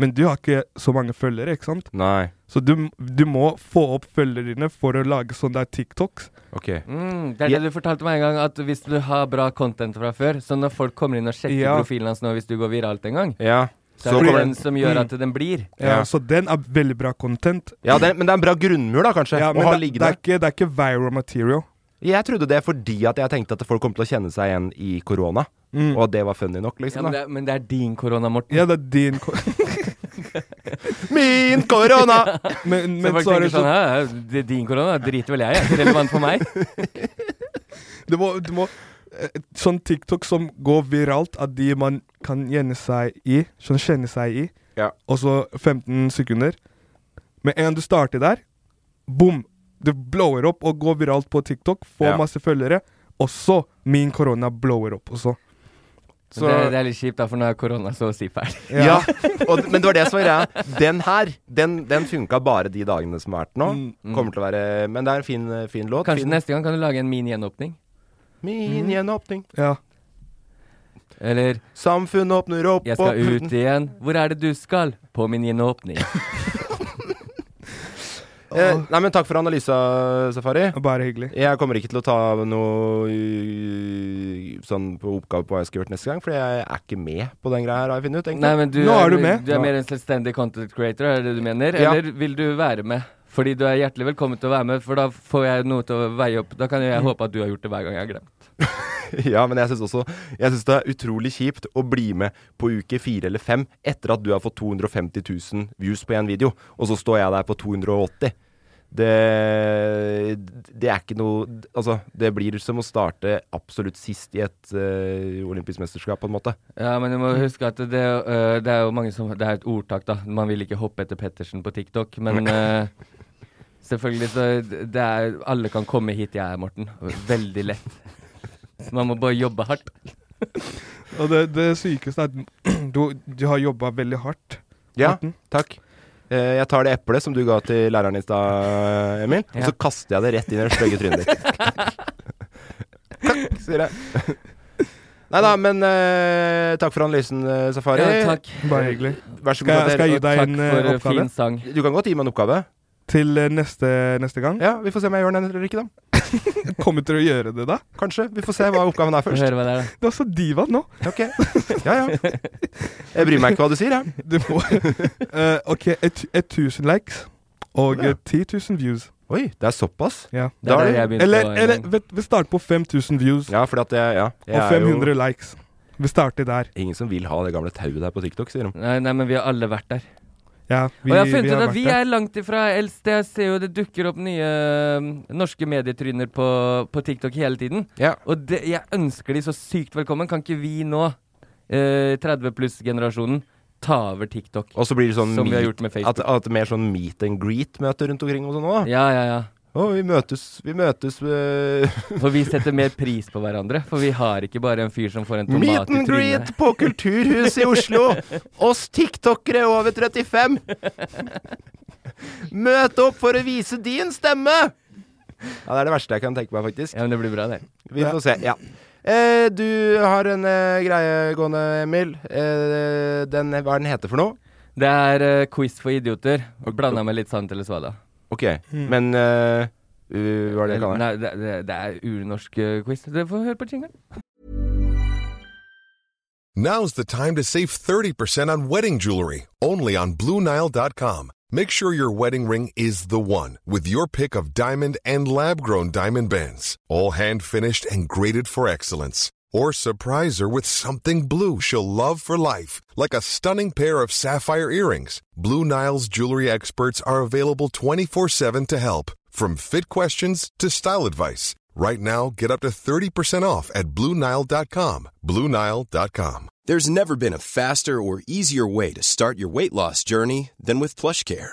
Speaker 3: Men du har ikke så mange følgere, ikke sant?
Speaker 2: Nei.
Speaker 3: Så du, du må få opp følgerne dine for å lage sånn der TikToks.
Speaker 2: Ok.
Speaker 4: Mm, det er det du fortalte meg en gang, at hvis du har bra content fra før, så når folk kommer inn og sjekker
Speaker 3: Ja.
Speaker 4: profilen hans nå hvis du går viralt en gang,
Speaker 2: Ja.
Speaker 4: så er det den som
Speaker 3: Mm.
Speaker 4: gjør at den blir.
Speaker 3: Ja,
Speaker 2: Ja.
Speaker 3: Så den er veldig bra content.
Speaker 2: Ja, det, men det er en bra grunnmur, da, kanskje?
Speaker 3: Ja,
Speaker 2: å
Speaker 3: men
Speaker 2: ha
Speaker 3: det, det,
Speaker 2: liggende.
Speaker 3: er ikke, det er ikke viral material.
Speaker 2: Jeg trodde det fordi at jeg tenkte at folk kom til å kjenne seg igjen i korona. Og at Mm. det var funny nok,
Speaker 4: Ja,
Speaker 2: liksom.
Speaker 4: men, det
Speaker 2: da.
Speaker 4: er, men det er din korona, Morten.
Speaker 3: Ja, det er din ko
Speaker 2: Min korona!
Speaker 3: Men,
Speaker 4: så
Speaker 3: men
Speaker 4: folk
Speaker 3: så er det
Speaker 4: tenker sånn
Speaker 3: sånn
Speaker 4: Hæ, det er din korona? Driter vel jeg i? Det er ikke Relevant for meg?
Speaker 3: du må, du må, eh, Sånn TikTok som går viralt, av de man kan gjenne seg i, sånn kjenne seg i,
Speaker 2: Ja.
Speaker 3: og så 15 sekunder. Med en gang du starter der, bom! Det blower opp og går viralt på TikTok, får
Speaker 2: Ja.
Speaker 3: masse følgere. Også min korona blower opp også.
Speaker 2: Så,
Speaker 4: det, det er litt kjipt, da, for nå er korona så å si ferdig.
Speaker 2: ja. Og, men det var det som var greia. Den her, den, den funka bare de dagene som har vært nå. Kommer til å være Men det er en fin, eh, fin låt.
Speaker 4: Kanskje
Speaker 2: fin,
Speaker 4: neste gang kan du lage en min gjenåpning?
Speaker 2: Min gjenåpning.
Speaker 3: Ja.
Speaker 4: Eller
Speaker 2: Samfunnet åpner opp
Speaker 4: Jeg skal
Speaker 2: og-
Speaker 4: ut igjen. Hvor er det du skal? På min gjenåpning.
Speaker 2: Eh, nei, men takk for analysa, Safari.
Speaker 3: Bare hyggelig.
Speaker 2: Jeg kommer ikke til å ta noe øh, sånn på oppgave på hva jeg skal gjøre neste gang, for jeg er ikke med på den greia her, har jeg funnet ut. egentlig.
Speaker 4: Nei, men du
Speaker 3: Nå er du med.
Speaker 4: Du er mer en selvstendig content creator, er det det du mener?
Speaker 2: Ja.
Speaker 4: Eller vil du være med? Fordi du er hjertelig velkommen til å være med, for da får jeg noe til å veie opp. Da kan
Speaker 3: Mm.
Speaker 4: jeg håpe at du har gjort det hver gang jeg har glemt.
Speaker 2: Ja, men jeg syns også Jeg synes det er utrolig kjipt å bli med på uke fire eller fem etter at du har fått 250 000 views på én video, og så står jeg der på 280. Det, det er ikke noe Altså, det blir som å starte absolutt sist i et eh, olympisk mesterskap, på en måte.
Speaker 4: Ja, men du må huske at det, øh, det er jo mange som Det er et ordtak, da. Man vil ikke hoppe etter Pettersen på TikTok, men øh, Selvfølgelig, så det er Alle kan komme hit jeg er, Morten. Veldig lett. Man må bare jobbe hardt.
Speaker 3: Og det, det sykeste er at du, du har jobba veldig hardt.
Speaker 2: Ja,
Speaker 3: Morten?
Speaker 2: takk. Eh, jeg tar det eplet som du ga til læreren i stad, eh, Emil, og
Speaker 4: Ja.
Speaker 2: så kaster jeg det rett inn i det stygge trynet ditt. Klakk, sier jeg. Nei da, men eh, takk for analysen, eh, Safari.
Speaker 4: Ja, takk.
Speaker 3: Bare hyggelig.
Speaker 2: Vær så
Speaker 3: Skal
Speaker 2: god.
Speaker 3: jeg, skal jeg gi
Speaker 2: Adele.
Speaker 3: deg
Speaker 4: Takk
Speaker 3: en
Speaker 4: for
Speaker 3: eh,
Speaker 4: øh,
Speaker 3: oppgave?
Speaker 4: fin sang.
Speaker 2: Du kan godt gi meg en oppgave.
Speaker 3: Til eh, neste, neste gang.
Speaker 2: Ja, Vi får se om jeg gjør den eller ikke, da.
Speaker 3: Kommer til å gjøre det da?
Speaker 2: Kanskje. Vi får se hva oppgaven er
Speaker 4: Få
Speaker 2: først.
Speaker 4: høre hva det er, da.
Speaker 3: Du er så diva nå.
Speaker 2: Ok. Ja, ja. Jeg bryr meg ikke hva du sier, jeg.
Speaker 3: Du må Eh, OK, et- 1000 likes og
Speaker 2: Ja.
Speaker 3: eh, 10 000 views.
Speaker 2: Oi, det er såpass?
Speaker 3: Ja.
Speaker 4: Det
Speaker 2: Da
Speaker 4: er
Speaker 2: er
Speaker 4: der jeg
Speaker 2: det-
Speaker 4: begynte
Speaker 3: Eller,
Speaker 4: å-
Speaker 3: eller vet, vi starter på 5000 views
Speaker 2: Ja, fordi at jeg, ja, jeg
Speaker 3: og
Speaker 2: er jo-
Speaker 3: 500 likes. Vi starter der.
Speaker 2: Ingen som vil ha det gamle tauet der på TikTok, sier de.
Speaker 4: Nei, nei, men vi har alle vært der.
Speaker 3: Ja, vi,
Speaker 4: og jeg har funnet ut
Speaker 3: vært
Speaker 4: at vi
Speaker 3: der.
Speaker 4: er langt ifra eldst. Jeg ser jo det dukker opp nye øhm, norske medietryner på, på TikTok hele tiden.
Speaker 2: Ja.
Speaker 4: Og det, jeg ønsker de så sykt velkommen. Kan ikke vi nå, eh, 30 pluss-generasjonen, ta over TikTok?
Speaker 2: Og så blir det sånn
Speaker 4: Som vi har
Speaker 2: meet-
Speaker 4: gjort med
Speaker 2: at,
Speaker 4: Facebook.
Speaker 2: at mer sånn meet and greet-møter rundt omkring og sånn òg.
Speaker 4: Ja, ja, ja.
Speaker 2: Å, vi møtes, vi møtes øh,
Speaker 4: For vi setter mer pris på hverandre. For vi har ikke bare en fyr som får en
Speaker 2: Meet
Speaker 4: tomat i
Speaker 2: and greet
Speaker 4: trynet.
Speaker 2: på Kulturhuset i Oslo! Oss tiktokere over 35! Møt opp for å vise din stemme! Ja, Det er det verste jeg kan tenke meg, faktisk.
Speaker 4: Ja, men det blir bra, det.
Speaker 2: Vi får se. Ja. Eh, du har en eh, greie gående, Emil. Eh, den, hva er den heter for noe?
Speaker 4: Det er eh, quiz for idioter. Blanda med litt sant eller svada.
Speaker 2: Ok,
Speaker 4: Hmm.
Speaker 2: men eh, uh, Hva er det jeg kaller den?
Speaker 4: Nei, det, det, det er urnorsk eh, quiz. Dere får høre på jingeren.
Speaker 7: Now's the time to save 30% on wedding jewelry, only on BlueNile.com. Make sure your wedding ring is the one with your pick of diamond and lab grown diamond bands, all hand finished and graded for excellence. Or surprise her with something blue she'll love for life, like a stunning pair of sapphire earrings. Blue Nile's jewelry experts are available 24 7 to help, from fit questions to style advice. Right now, get up to 30% off at BlueNile.com. BlueNile.com.
Speaker 6: There's never been a faster or easier way to start your weight loss journey than with PlushCare.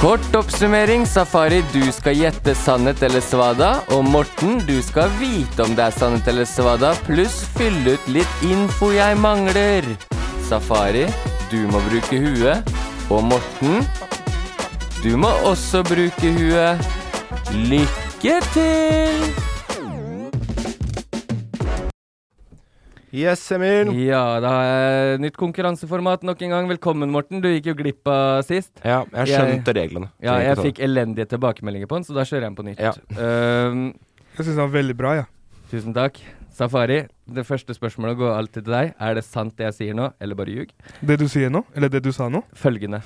Speaker 4: Kort oppsummering, Safari, du skal gjette sannhet eller svada. Og Morten, du skal vite om det er sannhet eller svada, pluss fylle ut litt info jeg mangler. Safari, du må bruke huet. Og Morten, du må også bruke huet. Lykke til!
Speaker 2: Yes, Emil.
Speaker 4: Ja, da har jeg nytt konkurranseformat nok en gang. Velkommen, Morten. Du gikk jo glipp av sist.
Speaker 2: Ja, jeg skjønte reglene.
Speaker 4: Ja,
Speaker 2: Trenger
Speaker 4: jeg
Speaker 2: ikke sånn. ta
Speaker 4: fikk elendige tilbakemeldinger på den, så da kjører jeg den på nytt. Ehm,
Speaker 3: Jeg syns den var veldig bra, ja.
Speaker 4: tusen takk. Safari, det første spørsmålet går alltid til deg. Er det sant det jeg sier nå, eller bare ljug?
Speaker 3: Det du sier nå, eller det du sa nå
Speaker 4: Følgende.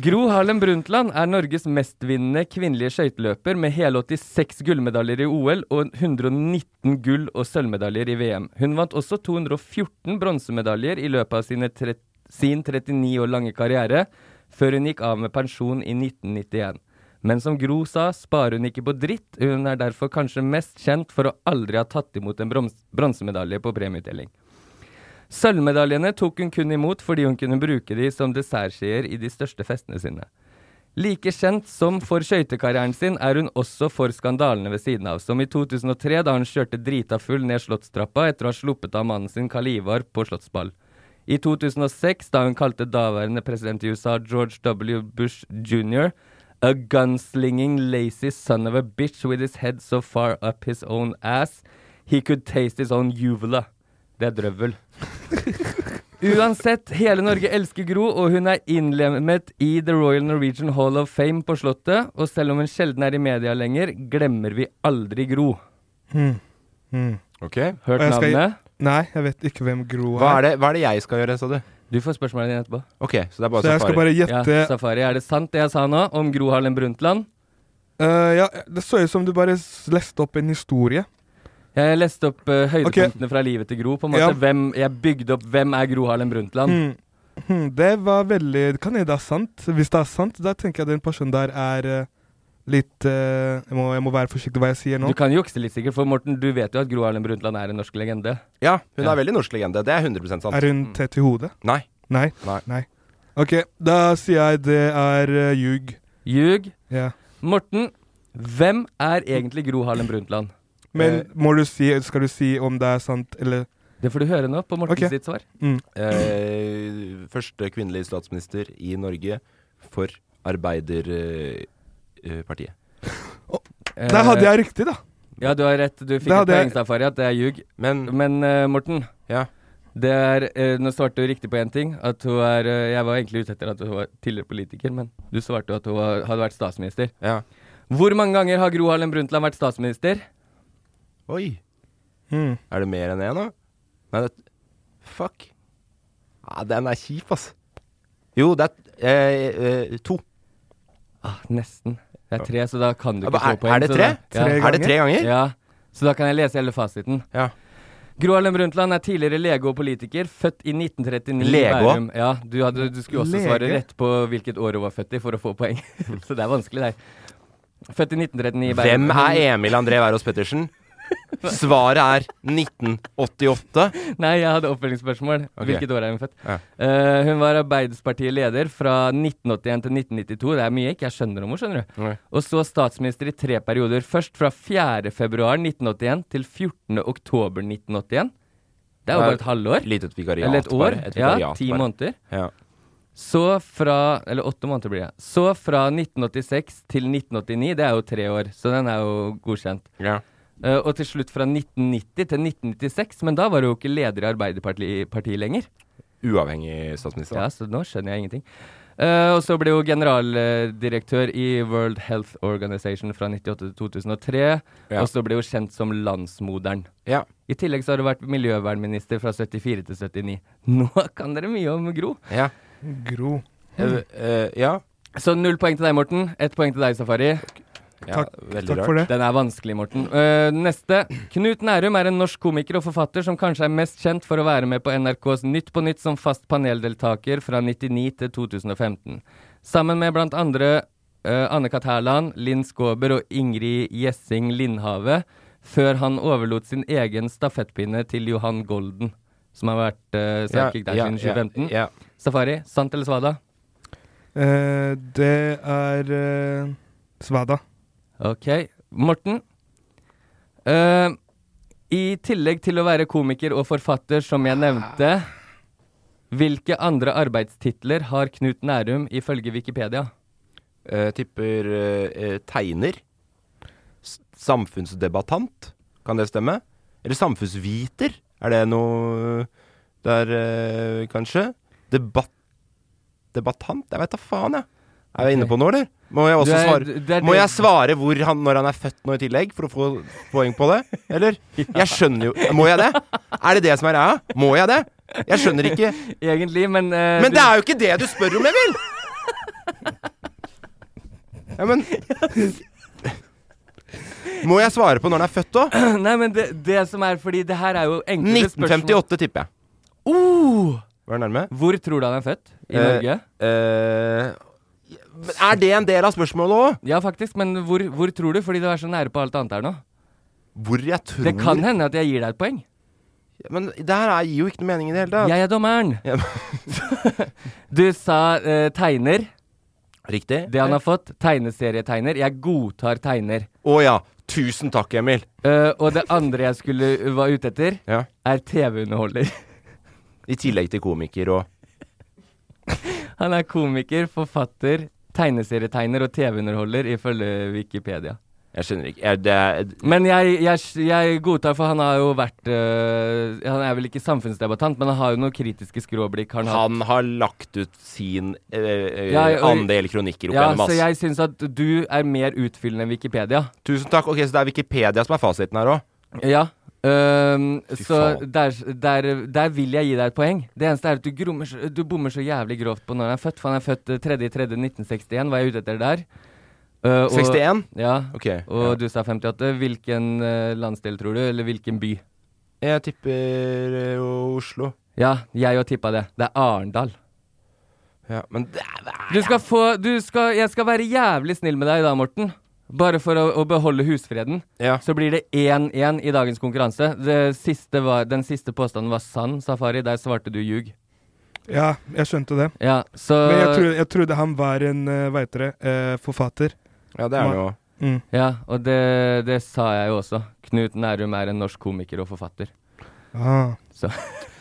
Speaker 4: Gro Harlem Brundtland er Norges mestvinnende kvinnelige skøyteløper med hele 86 gullmedaljer i OL og 119 gull- og sølvmedaljer i VM. Hun vant også 214 bronsemedaljer i løpet av sine tre sin 39 år lange karriere, før hun gikk av med pensjon i 1991. Men som Gro sa, sparer hun ikke på dritt. Hun er derfor kanskje mest kjent for å aldri ha tatt imot en broms- bronsemedalje på premieutdeling. Sølvmedaljene tok hun kun imot fordi hun kunne bruke de som dessertskjeer i de største festene sine. Like kjent som for skøytekarrieren sin er hun også for skandalene ved siden av, som i 2003 da hun kjørte drita full ned Slottstrappa etter å ha sluppet av mannen sin Karl Ivar på Slottsball. I 2006, da hun kalte daværende president i USA George W. Bush jr. a gunslinging lazy son of a bitch with his head so far up his own ass he could taste his own uvula. Det er drøvel. Uansett, hele Norge elsker Gro, og hun er innlemmet i The Royal Norwegian Hall of Fame på Slottet. Og selv om hun sjelden er i media lenger, glemmer vi aldri Gro.
Speaker 3: Hmm. Hmm.
Speaker 2: Ok.
Speaker 3: Og
Speaker 4: Hørt
Speaker 3: jeg skal-
Speaker 4: navnet?
Speaker 3: Nei, jeg vet ikke hvem Gro er.
Speaker 2: Hva er, det, hva er det jeg skal gjøre, sa du?
Speaker 4: Du får spørsmålet ditt etterpå.
Speaker 2: Ok, så det er bare
Speaker 3: Så jeg skal
Speaker 2: safari.
Speaker 3: bare gjette
Speaker 4: Ja, Safari, er det sant det jeg sa nå om Gro Harlem Brundtland?
Speaker 3: Eh, ja, Det så ut som du bare s- leste opp en historie.
Speaker 4: Jeg leste opp eh, høydepunktene fra livet til Gro. på en måte.
Speaker 3: Ja.
Speaker 4: Hvem, jeg bygde opp 'Hvem er Gro Harlem Brundtland'?
Speaker 3: Hmm. Hmm, det var veldig Kan hende det er sant. Hvis det er sant, da tenker jeg den personen der er eh, litt eh, jeg, må, jeg må være forsiktig hva jeg sier nå.
Speaker 4: Du kan jukse litt, sikkert, for Morten, du vet jo at Gro Harlem Brundtland er en norsk legende.
Speaker 2: Ja, hun
Speaker 4: Ja.
Speaker 2: er veldig norsk legende. Det er 100 sant.
Speaker 3: Er hun tett i hodet?
Speaker 2: Nei.
Speaker 3: Nei.
Speaker 2: Nei.
Speaker 3: OK, da sier jeg det er eh, ljug.
Speaker 4: Ljug.
Speaker 3: Ja.
Speaker 4: Morten, hvem er egentlig Gro Harlem Brundtland?
Speaker 3: Men
Speaker 2: Eh.
Speaker 3: må du si, skal du si om det er sant eller
Speaker 4: Det får du høre nå på Morten
Speaker 3: Ok.
Speaker 4: sitt svar.
Speaker 3: mm.
Speaker 2: Eh, første kvinnelige statsminister i Norge for Arbeiderpartiet. Eh, partiet.
Speaker 4: Eh.
Speaker 3: Der hadde jeg riktig, da.
Speaker 4: Ja, du har rett. Du fikk
Speaker 3: Da
Speaker 4: et
Speaker 3: hadde jeg-
Speaker 4: poeng, Safari, at det er ljug.
Speaker 2: Men
Speaker 4: Men eh, Morten,
Speaker 2: Mm. Ja.
Speaker 4: det er, eh, nå svarte du riktig på én ting. At hun er eh, Jeg var egentlig ute etter at hun var tidligere politiker, men du svarte jo at hun var, hadde vært statsminister.
Speaker 2: Ja.
Speaker 4: Hvor mange ganger har Gro Harlem Brundtland vært statsminister?
Speaker 2: Oi.
Speaker 3: Mm.
Speaker 2: Er det mer enn én, da? Nei, det Fuck. Ja, den er kjip, ass. Jo, det er eh, eh, to.
Speaker 4: Ah, nesten. Det er tre, så da kan du
Speaker 2: Er,
Speaker 4: ikke få poeng.
Speaker 2: er det
Speaker 4: så
Speaker 2: tre?
Speaker 4: Da, ja.
Speaker 2: Er det tre ganger?
Speaker 4: Ja, så da kan jeg lese hele fasiten.
Speaker 2: Ja.
Speaker 4: Gro Harlem Brundtland er tidligere lege og politiker, født i 1939 i
Speaker 2: Lege også?
Speaker 4: Bærum. Ja, du, hadde, du skulle også svare
Speaker 3: Lege?
Speaker 4: rett på hvilket år hun var født i for å få poeng. så det er vanskelig, det. Født i 1939 i Bærum.
Speaker 2: Hvem er Emil André Wærås Pettersen? Svaret er 1988.
Speaker 4: Nei, jeg hadde oppfølgingsspørsmål.
Speaker 2: Ok.
Speaker 4: Hvilket år er hun født?
Speaker 2: Ja.
Speaker 4: Eh, hun var Arbeiderpartiet-leder fra 1981 til 1992. Det er mye jeg ikke jeg skjønner om henne, skjønner du.
Speaker 2: Nei.
Speaker 4: Og så statsminister i tre perioder. Først fra 4. februar 1981 til 14. oktober 1981. Det er jo
Speaker 2: Ja.
Speaker 4: bare et halvår.
Speaker 2: Lite et vikariat,
Speaker 4: Eller et år.
Speaker 2: bare. Et
Speaker 4: Ja,
Speaker 2: vikariat
Speaker 4: ti
Speaker 2: bare.
Speaker 4: måneder.
Speaker 2: Ja.
Speaker 4: Så fra Eller åtte måneder blir det. Så fra 1986 til 1989, det er jo tre år, så den er jo godkjent.
Speaker 2: Ja.
Speaker 4: Eh, og til slutt fra 1990 til 1996, men da var hun jo ikke leder i Arbeiderpartiet partiet lenger.
Speaker 2: Uavhengig statsminister.
Speaker 4: Ja,
Speaker 2: da.
Speaker 4: så nå skjønner jeg ingenting. Eh, og så ble hun generaldirektør i World Health Organization fra 98 til 2003.
Speaker 2: Ja.
Speaker 4: Og så ble hun kjent som landsmoderen.
Speaker 2: Ja.
Speaker 4: I tillegg så har hun vært miljøvernminister fra 74 til 79. Nå kan dere mye om Gro.
Speaker 2: ja.
Speaker 3: Gro.
Speaker 4: Mm.
Speaker 2: Eh, eh, ja.
Speaker 4: Så null poeng til deg, Morten. Ett poeng til deg, Safari.
Speaker 3: Takk- veldig takk for rart. det.
Speaker 4: Den er vanskelig, Morten. Eh, neste. Knut Nærum er en norsk komiker og forfatter som kanskje er mest kjent for å være med på NRKs Nytt på Nytt som fast paneldeltaker fra 99 til 2015. Sammen med blant andre eh, Anne-Kat. Hærland, Linn Skåber og Ingrid Gjessing Lindhave, før han overlot sin egen stafettpinne til Johan Golden, som har vært uh, sidekick der
Speaker 2: ja,
Speaker 4: siden
Speaker 2: ja,
Speaker 4: 2015.
Speaker 2: ja.
Speaker 4: Safari, sant eller svada?
Speaker 3: Eh, det er eh, Svada.
Speaker 4: Ok. Morten? Eh, I tillegg til å være komiker og forfatter, som jeg nevnte, hvilke andre arbeidstitler har Knut Nærum ifølge Wikipedia?
Speaker 2: Eh, tipper eh, eh, tegner. S samfunnsdebattant, kan det stemme? Eller samfunnsviter, er det noe der, eh, kanskje? Debatt... Debattant? Jeg veit da faen, jeg. Er jeg inne på noe, eller? Må jeg
Speaker 4: Du
Speaker 2: også
Speaker 4: er-
Speaker 2: svare,
Speaker 4: det er
Speaker 2: må
Speaker 4: det-
Speaker 2: jeg svare hvor han, når han er født nå i tillegg, for å få poeng på det? Eller? Jeg skjønner jo Må jeg det? Er det det som er greia? Må jeg det? Jeg skjønner ikke
Speaker 4: Egentlig, men eh,
Speaker 2: Men
Speaker 4: du-
Speaker 2: det er jo ikke det du spør om, Emil! Ja, men Må jeg svare på når den er født òg?
Speaker 4: Nei, men det, det som er fordi det her er jo enkle spørsmål
Speaker 2: 1958, tipper jeg.
Speaker 4: Oh!
Speaker 2: Var det nærme?
Speaker 4: Hvor tror du han er født? I
Speaker 2: Eh,
Speaker 4: Norge?
Speaker 2: Men er det en del av spørsmålet òg?
Speaker 4: Ja, faktisk, men hvor, hvor tror du? Fordi du er så nære på alt annet her nå.
Speaker 2: Hvor jeg tror
Speaker 4: Det kan hende at jeg gir deg et poeng.
Speaker 2: Men det her er- gir jo ikke noe mening i det hele tatt.
Speaker 4: Jeg er dommeren. du sa eh, tegner.
Speaker 2: Riktig.
Speaker 4: Det han har fått. Tegneserietegner. Jeg godtar tegner.
Speaker 2: Å ja. Tusen takk, Emil.
Speaker 4: Eh, og det andre jeg skulle eh, var ute etter,
Speaker 2: Ja.
Speaker 4: er TV-underholder.
Speaker 2: I tillegg til komiker og
Speaker 4: Han er komiker, forfatter, tegneserietegner og TV-underholder ifølge Wikipedia.
Speaker 2: Jeg skjønner ikke jeg, det, er-
Speaker 4: Men jeg, jeg, jeg godtar, for han har jo vært øh, Han er vel ikke samfunnsdebattant, men han har jo noen kritiske skråblikk. har hatt.
Speaker 2: Han har lagt ut sin eh, eh,
Speaker 4: Ja, jeg-
Speaker 2: andel kronikker opp
Speaker 4: ja,
Speaker 2: gjennom,
Speaker 4: så
Speaker 2: ass.
Speaker 4: jeg syns at du er mer utfyllende enn Wikipedia.
Speaker 2: Tusen takk. Ok, Så det er Wikipedia som er fasiten her òg?
Speaker 4: Ja. øhm, så
Speaker 2: faen.
Speaker 4: der, der, der vil jeg gi deg et poeng. Det eneste er at du, grommer, så- du bommer så jævlig grovt på når han er født. For han er født eh, 3.3.1961, var jeg ute etter der. Eh, og-
Speaker 2: 61?
Speaker 4: Ja.
Speaker 2: Ok,
Speaker 4: og
Speaker 2: ja.
Speaker 4: du sa 58. Hvilken eh, landsdel tror du, eller hvilken by?
Speaker 2: Jeg tipper eh, Oslo.
Speaker 4: Ja, jeg òg tippa det. Det er Arendal.
Speaker 2: Ja, men det er
Speaker 4: Du skal få du skal, Jeg skal være jævlig snill med deg da, Morten. Bare for å, å beholde husfreden.
Speaker 2: Ja.
Speaker 4: Så blir det 1-1 i dagens konkurranse. Det siste var, den siste påstanden var sann, Safari. Der svarte du ljug.
Speaker 3: Ja, jeg skjønte det.
Speaker 4: Ja, så
Speaker 3: Men jeg, tro, jeg trodde han var en uh, hva heter det, eh, forfatter.
Speaker 2: Ja, det er det jo.
Speaker 3: Mm.
Speaker 4: Ja, og det, det sa jeg jo også. Knut Nærum er en norsk komiker og forfatter.
Speaker 3: Ah.
Speaker 4: Så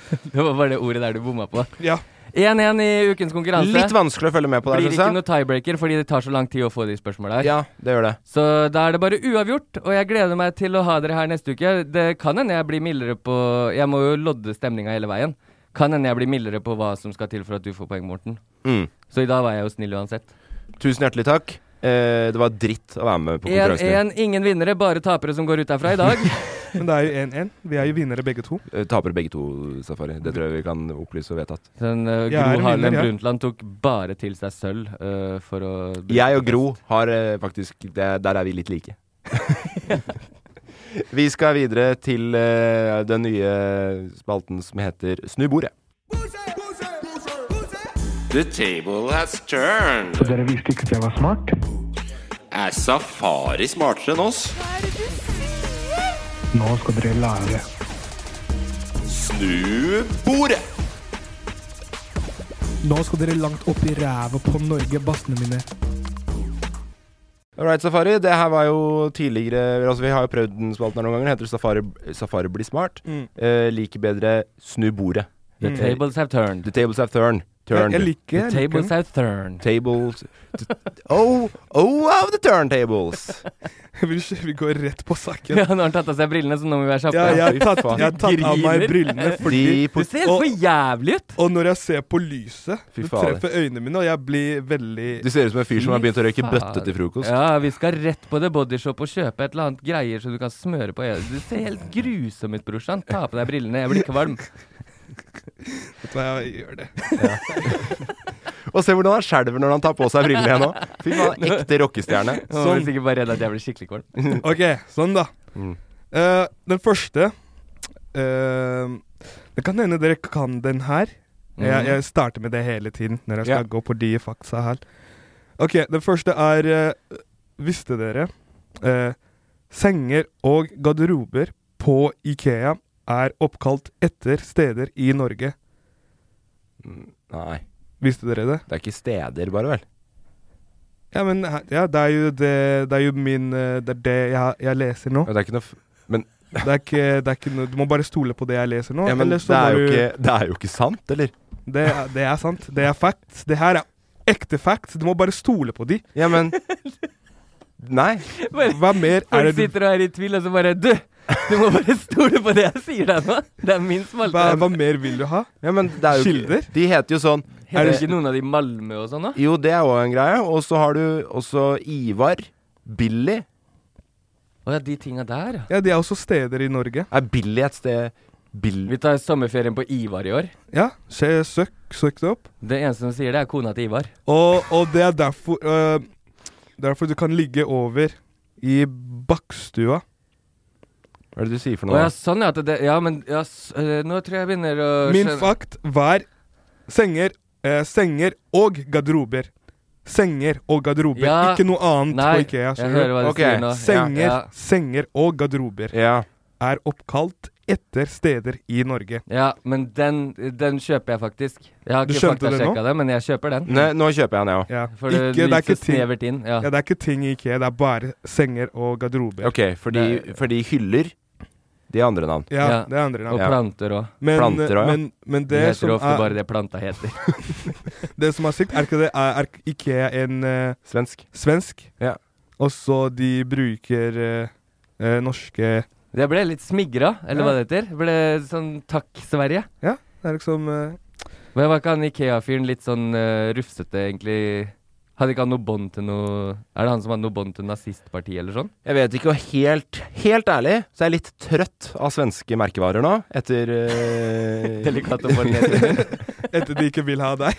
Speaker 4: det var bare det ordet der du bomma på.
Speaker 3: Ja.
Speaker 4: 1-1 i ukens konkurranse.
Speaker 2: Litt vanskelig å følge med på der,
Speaker 4: Blir
Speaker 2: synes
Speaker 4: ikke
Speaker 2: jeg.
Speaker 4: noe tiebreaker fordi det tar så lang tid å få de spørsmåla her.
Speaker 2: Ja, det gjør det.
Speaker 4: Så da er det bare uavgjort, og jeg gleder meg til å ha dere her neste uke. Det kan hende jeg blir mildere på Jeg må jo lodde stemninga hele veien. Kan hende jeg blir mildere på hva som skal til for at du får poeng, Morten.
Speaker 2: Mm.
Speaker 4: Så i dag var jeg jo snill uansett.
Speaker 2: Tusen hjertelig takk. Eh, det var dritt å være med på konkurransen.
Speaker 4: 1-1, ingen vinnere, bare tapere som går ut herfra i dag.
Speaker 3: Men det er jo 1-1. Vi er jo vinnere begge to.
Speaker 2: Eh, Taper begge to, Safari. Det tror jeg vi kan opplyse og vedtatt.
Speaker 4: Den eh,
Speaker 3: Jeg er
Speaker 4: Gro
Speaker 3: en
Speaker 4: Harlem
Speaker 3: vinner, jeg.
Speaker 4: Brundtland tok bare til seg sølv eh, for å
Speaker 2: Jeg og Gro har eh, faktisk det, Der er vi litt like. vi skal videre til eh, den nye spalten som heter Snu bordet.
Speaker 6: The table has turned.
Speaker 8: Dere visste ikke at jeg var smart?
Speaker 6: Er safari smartere enn oss?
Speaker 8: Nå skal dere lære.
Speaker 6: Snu bordet!
Speaker 8: Nå skal dere langt opp i ræva på Norge, bassene mine.
Speaker 2: All right, Safari. Det her var jo tidligere altså Vi har jo prøvd den spalten her noen ganger. Den heter Safari, Safari blir smart.
Speaker 3: Mm.
Speaker 2: Eh, liker bedre Snu bordet.
Speaker 4: The
Speaker 2: Mm.
Speaker 4: tables have turned.
Speaker 2: The tables have turned. turned.
Speaker 3: Jeg, jeg liker
Speaker 4: The
Speaker 3: jeg liker
Speaker 4: tables
Speaker 3: den.
Speaker 4: have turned.
Speaker 2: Tables Oh, oh of the turntables!
Speaker 3: Vi skj- Vi går rett på saken.
Speaker 4: Ja, nå har han tatt av seg brillene, så nå må vi være
Speaker 3: Ja,
Speaker 4: kjappe.
Speaker 3: jeg har tatt, jeg har tatt av meg
Speaker 4: Griner.
Speaker 3: brillene fordi
Speaker 2: De
Speaker 4: Du
Speaker 2: på
Speaker 4: ser helt for jævlig ut!
Speaker 3: Og når jeg ser på lyset,
Speaker 2: Fy
Speaker 3: det
Speaker 2: fader.
Speaker 3: treffer øynene mine, og jeg blir veldig
Speaker 2: Du ser ut som en fyr som har begynt å røyke
Speaker 4: Fy faen.
Speaker 2: bøtte til frokost.
Speaker 4: Ja, vi skal rett på The Body Shop og kjøpe et eller annet greier som du kan smøre på øyet. Du ser helt grusom ut, brorsan. Ta på deg brillene, jeg blir ikke varm.
Speaker 3: Vet du hva, jeg gjør det.
Speaker 2: Og se hvordan han skjelver når han tar på seg brillene igjen nå. Fy faen, ekte rockestjerne.
Speaker 4: Han var sikkert bare redd at jeg ble skikkelig kvalm.
Speaker 3: Ok, sånn da.
Speaker 2: Mm.
Speaker 3: Eh, den første eh, Det kan hende dere kan den her. Jeg,
Speaker 8: Mhm.
Speaker 3: jeg starter med det hele tiden når jeg skal
Speaker 8: Ja.
Speaker 3: gå på de fakta her. Ok, den første er eh, Visste dere eh, senger og garderober på Ikea er oppkalt etter steder i Norge?
Speaker 2: Nei.
Speaker 3: Visste dere det?
Speaker 2: Det er ikke steder, bare vel?
Speaker 3: Ja, men he- ja, det er jo det Det er jo min eh, Det er det jeg, jeg leser nå.
Speaker 2: Det er ikke noe f- Men
Speaker 3: Det er ikke, det er ikke noe Du må bare stole på det jeg leser nå.
Speaker 2: Ja, men
Speaker 3: eller
Speaker 2: det
Speaker 3: så
Speaker 2: er,
Speaker 3: må
Speaker 2: jo
Speaker 3: du-
Speaker 2: ikke, det er jo ikke sant, eller?
Speaker 3: Det er, det er sant. Det er facts. Det her er ekte facts. Du må bare stole på de.
Speaker 2: Ja, men Nei.
Speaker 3: Hva mer er
Speaker 4: Folk
Speaker 3: det du
Speaker 4: sitter og er i tvil, og så bare Du! Du må bare stole på det jeg sier deg nå! Det er min smalte.
Speaker 3: hva, hva mer vil du ha?
Speaker 2: Ja, men det er jo
Speaker 3: Kilder?
Speaker 2: Ikke, de heter jo sånn
Speaker 4: Er det ikke noen av de i Malmö og sånn, da?
Speaker 2: Jo, det er òg en greie. Og så har du også Ivar. Billy.
Speaker 4: Å ja, de tinga der, ja.
Speaker 3: Ja, de er også steder i Norge.
Speaker 2: Er Billy et sted Bill...
Speaker 4: Vi tar sommerferien på Ivar i år.
Speaker 3: Ja, se, søk, søk det opp.
Speaker 4: Det eneste som sier det, er kona til Ivar.
Speaker 3: Og, og det er derfor øh, Derfor du kan ligge over i Bakkstua.
Speaker 2: Hva er det du sier for
Speaker 4: Å
Speaker 2: noe?
Speaker 4: ja, sånn ja. at Det, ja, men ja, s eh, nå tror jeg jeg begynner å
Speaker 3: Min
Speaker 4: skjønne-
Speaker 3: fakt var senger, eh, senger og garderober. Senger og garderober,
Speaker 4: Ja.
Speaker 3: ikke noe annet
Speaker 4: Nei,
Speaker 3: på Ikea.
Speaker 4: jeg
Speaker 3: skjønner
Speaker 4: hører hva du
Speaker 3: Ok.
Speaker 4: sier nå. Ja,
Speaker 3: Senger,
Speaker 4: ja.
Speaker 3: senger og garderober
Speaker 2: Ja.
Speaker 3: er oppkalt etter steder i Norge.
Speaker 4: Ja, men den, den kjøper jeg faktisk. Jeg har
Speaker 3: Du
Speaker 4: ikke
Speaker 3: skjønte det
Speaker 4: faktasjekka
Speaker 3: nå?
Speaker 4: det, men jeg kjøper den.
Speaker 2: Nei, nå kjøper jeg den, jeg òg.
Speaker 3: Ja.
Speaker 4: For det
Speaker 3: Ikke-
Speaker 4: blir
Speaker 3: det er
Speaker 4: så
Speaker 3: ikke ting-
Speaker 4: snevert inn. Ja.
Speaker 3: Ja, det er ikke ting i Ikea, det er bare senger og garderober.
Speaker 2: Ok, fordi, fordi hyller De har andre navn.
Speaker 3: Ja,
Speaker 4: Ja,
Speaker 3: det er andre navn.
Speaker 4: Og planter òg.
Speaker 3: Men, eh,
Speaker 2: Planter også, ja.
Speaker 3: men, men
Speaker 4: Det
Speaker 3: det,
Speaker 4: heter
Speaker 3: som
Speaker 4: ofte
Speaker 3: er,
Speaker 4: bare det planta heter.
Speaker 3: det som er sykt, er ikke det er, er Ikea en eh,
Speaker 2: Svensk.
Speaker 3: svensk,
Speaker 2: Ja.
Speaker 3: og så de bruker eh, eh, norske
Speaker 4: Jeg ble litt smigra, eller hva det heter. Jeg Ble sånn takk, Sverige.
Speaker 3: Ja, det er liksom eh,
Speaker 4: Men var ikke han Ikea-fyren litt sånn eh, rufsete, egentlig? Hadde ikke han noe bånd til noe Er det han som hadde noe bånd til nazistpartiet, eller sånn?
Speaker 2: Jeg vet ikke, og helt, helt ærlig så er jeg litt trøtt av svenske merkevarer nå, etter eh,
Speaker 4: Delikat å formulere det.
Speaker 3: Etter de ikke vil ha deg.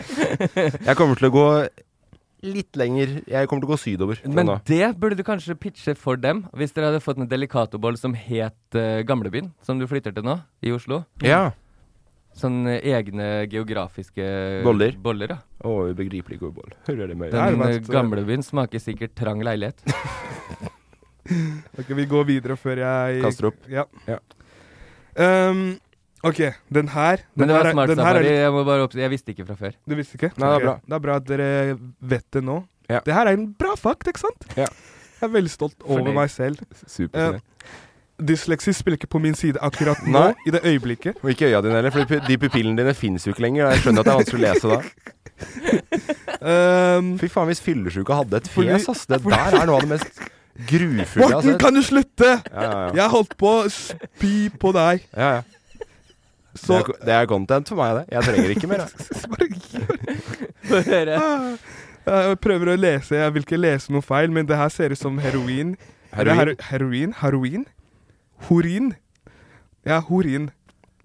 Speaker 2: Jeg kommer til å gå litt lenger Jeg kommer til å gå sydover.
Speaker 3: Sånn,
Speaker 2: sånn fra
Speaker 4: Men
Speaker 2: nå.
Speaker 4: det burde du kanskje pitche for dem, hvis dere hadde fått en delicatoboll som het eh, Gamlebyen, som du flytter til nå, i Oslo.
Speaker 2: Ja.
Speaker 4: Sånn eh, egne geografiske
Speaker 2: Boller.
Speaker 4: boller ja.
Speaker 2: Å, ubegripelig god boll. Hører det med
Speaker 3: er
Speaker 4: Den eh,
Speaker 3: verdt, eh,
Speaker 4: gamlebyen smaker sikkert trang leilighet.
Speaker 3: Ok, vi går videre før jeg
Speaker 2: Kaster opp.
Speaker 3: Ja.
Speaker 2: Ja.
Speaker 3: Ehm, OK, den her den
Speaker 4: Men det
Speaker 3: her
Speaker 4: var
Speaker 3: er-
Speaker 4: smart
Speaker 3: den her er
Speaker 4: safari.
Speaker 3: litt-
Speaker 4: Jeg, må bare opp... jeg visste ikke fra før.
Speaker 3: Du visste ikke?
Speaker 2: Nei, det er
Speaker 3: Ok, Det er bra at dere vet det nå.
Speaker 2: Ja.
Speaker 3: Det her er en bra fakt, ikke sant?
Speaker 2: Ja.
Speaker 3: Jeg er veldig stolt over
Speaker 4: Fornøyd.
Speaker 3: meg selv.
Speaker 2: Superfine.
Speaker 3: Dysleksi spiller ikke på min side akkurat nå,
Speaker 2: Nei.
Speaker 3: i det øyeblikket.
Speaker 2: Og ikke øya dine heller, for de pu- de pupillene dine fins jo ikke lenger. og Jeg skjønner at det er vanskelig å lese da.
Speaker 3: Ehm,
Speaker 2: Fy faen, hvis fyllesyke hadde et
Speaker 3: Fordi-
Speaker 2: fjes, ass. Det der er noe av det mest grufulle altså, jeg har
Speaker 3: Morten,
Speaker 2: sett.
Speaker 3: kan du slutte?!
Speaker 2: Ja, ja, ja.
Speaker 3: Jeg holdt på å spy på deg.
Speaker 2: ja, ja. Det,
Speaker 3: Så
Speaker 2: er, det er content for meg, det. Jeg trenger ikke mer. Jeg.
Speaker 4: Få høre.
Speaker 3: Ah. jeg prøver å lese, jeg vil ikke lese noe feil, men det her ser ut som heroin. Eller
Speaker 2: Heroin?
Speaker 3: hero- heroin? Heroin? Horin? Ja, horin.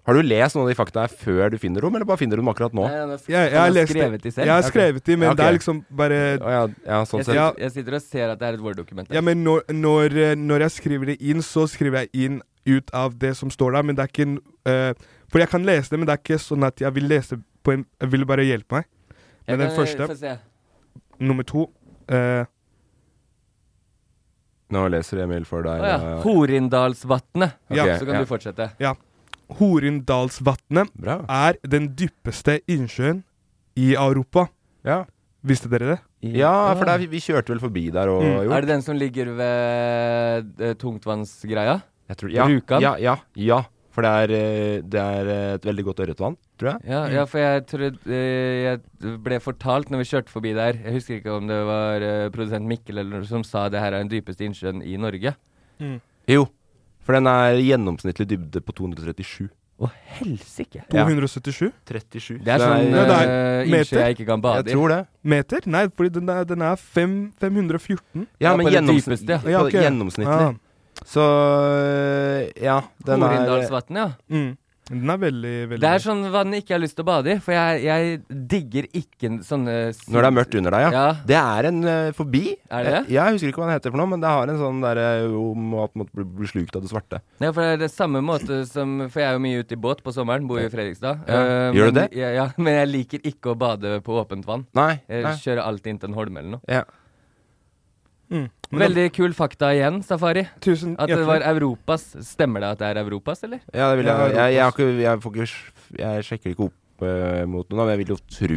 Speaker 2: Har du lest noen av de fakta her før du finner dem, eller bare finner du dem akkurat nå?
Speaker 4: Nei, han har
Speaker 3: Jeg,
Speaker 4: sk-
Speaker 3: jeg,
Speaker 4: han
Speaker 3: har
Speaker 4: har
Speaker 3: lest det.
Speaker 4: skrevet de selv.
Speaker 3: Jeg har
Speaker 2: Ok.
Speaker 3: skrevet de, men
Speaker 2: Ja, ok.
Speaker 3: det er liksom bare
Speaker 2: Å ja, ja, sånn
Speaker 4: Jeg
Speaker 2: sett.
Speaker 4: sitter,
Speaker 3: Ja.
Speaker 4: jeg sitter og ser at det er et Word-dokument.
Speaker 3: Ja,
Speaker 4: her.
Speaker 3: men når, når, eh, når jeg skriver det inn, så skriver jeg inn ut av det som står der, men det er ikke en, eh, For jeg kan lese det, men det er ikke sånn at jeg vil lese på en Jeg vil bare hjelpe meg.
Speaker 4: Jeg
Speaker 3: Men den
Speaker 4: kan- eh,
Speaker 3: første,
Speaker 4: få se.
Speaker 3: nummer to eh,
Speaker 2: Nå leser Emil for deg.
Speaker 4: Å ja.
Speaker 2: ja, ja.
Speaker 4: Horindalsvatnet.
Speaker 3: Ja.
Speaker 2: Ok,
Speaker 4: Så kan
Speaker 2: ja.
Speaker 4: du fortsette.
Speaker 3: Horindalsvatnet
Speaker 2: Bra.
Speaker 3: er den dypeste innsjøen i Europa.
Speaker 2: Ja.
Speaker 3: Visste dere det?
Speaker 2: ja, for der, vi kjørte vel forbi der og
Speaker 3: Mm.
Speaker 2: jo.
Speaker 4: Er det den som ligger ved eh, tungtvannsgreia?
Speaker 2: Jeg tror, ja,
Speaker 4: Rjukan?
Speaker 2: Ja, ja, ja. For det er, eh, det er eh, et veldig godt ørretvann, tror jeg.
Speaker 4: Ja, ja, for jeg trodde eh, Jeg ble fortalt når vi kjørte forbi der Jeg husker ikke om det var eh, produsent Mikkel eller noe som sa det her er den dypeste innsjøen i Norge.
Speaker 2: Jo. For den er gjennomsnittlig dybde på 237.
Speaker 4: Å helsike!
Speaker 2: Ja.
Speaker 3: 277
Speaker 2: 37.
Speaker 4: Det er sånn
Speaker 3: Ja, det er
Speaker 4: eh,
Speaker 3: meter.
Speaker 4: innsjø jeg ikke kan
Speaker 2: Jeg
Speaker 4: bade i.
Speaker 2: tror det.
Speaker 3: meter? Nei, fordi den er, den er fem, 514.
Speaker 2: Ja,
Speaker 4: Ja,
Speaker 2: men
Speaker 4: på det
Speaker 2: gjennomsnitt-
Speaker 4: dypeste, ja.
Speaker 2: på
Speaker 3: Ja, ok.
Speaker 2: gjennomsnittlig.
Speaker 3: Ah,
Speaker 2: Så øh, ja, den er
Speaker 4: Horindalsvatnet, ja.
Speaker 3: mm. Den er veldig, veldig
Speaker 4: Det er sånn vann jeg ikke har lyst til å bade i, for jeg, jeg digger ikke sånne
Speaker 2: Når det er mørkt under deg, ja. Det er en eh, forbi.
Speaker 4: Er det det?
Speaker 2: Eh, Ja, jeg husker ikke hva den heter for noe, men det har en sånn derre om at man blir blir slukt av det svarte.
Speaker 4: Nei, for det er det samme måte som For jeg er jo mye ute i båt på sommeren, bor jo i Fredrikstad.
Speaker 2: Ja.
Speaker 4: Eh,
Speaker 2: Gjør du
Speaker 4: men,
Speaker 2: det?
Speaker 4: Ja, ja, men jeg liker ikke å bade på åpent vann.
Speaker 2: Nei,
Speaker 4: Jeg
Speaker 2: nei.
Speaker 4: kjører alltid inn til en holme eller noe.
Speaker 2: Ja.
Speaker 4: Veldig kul fakta igjen, Safari.
Speaker 3: Mm. Tusen
Speaker 4: At det var
Speaker 3: hjertelig.
Speaker 4: Europas. Stemmer det at det er Europas, eller?
Speaker 2: Ja, det vil jeg Jeg, jeg, har ikke, jeg, får ikke, sj- jeg sjekker ikke opp eh, mot noe, men jeg vil jo tru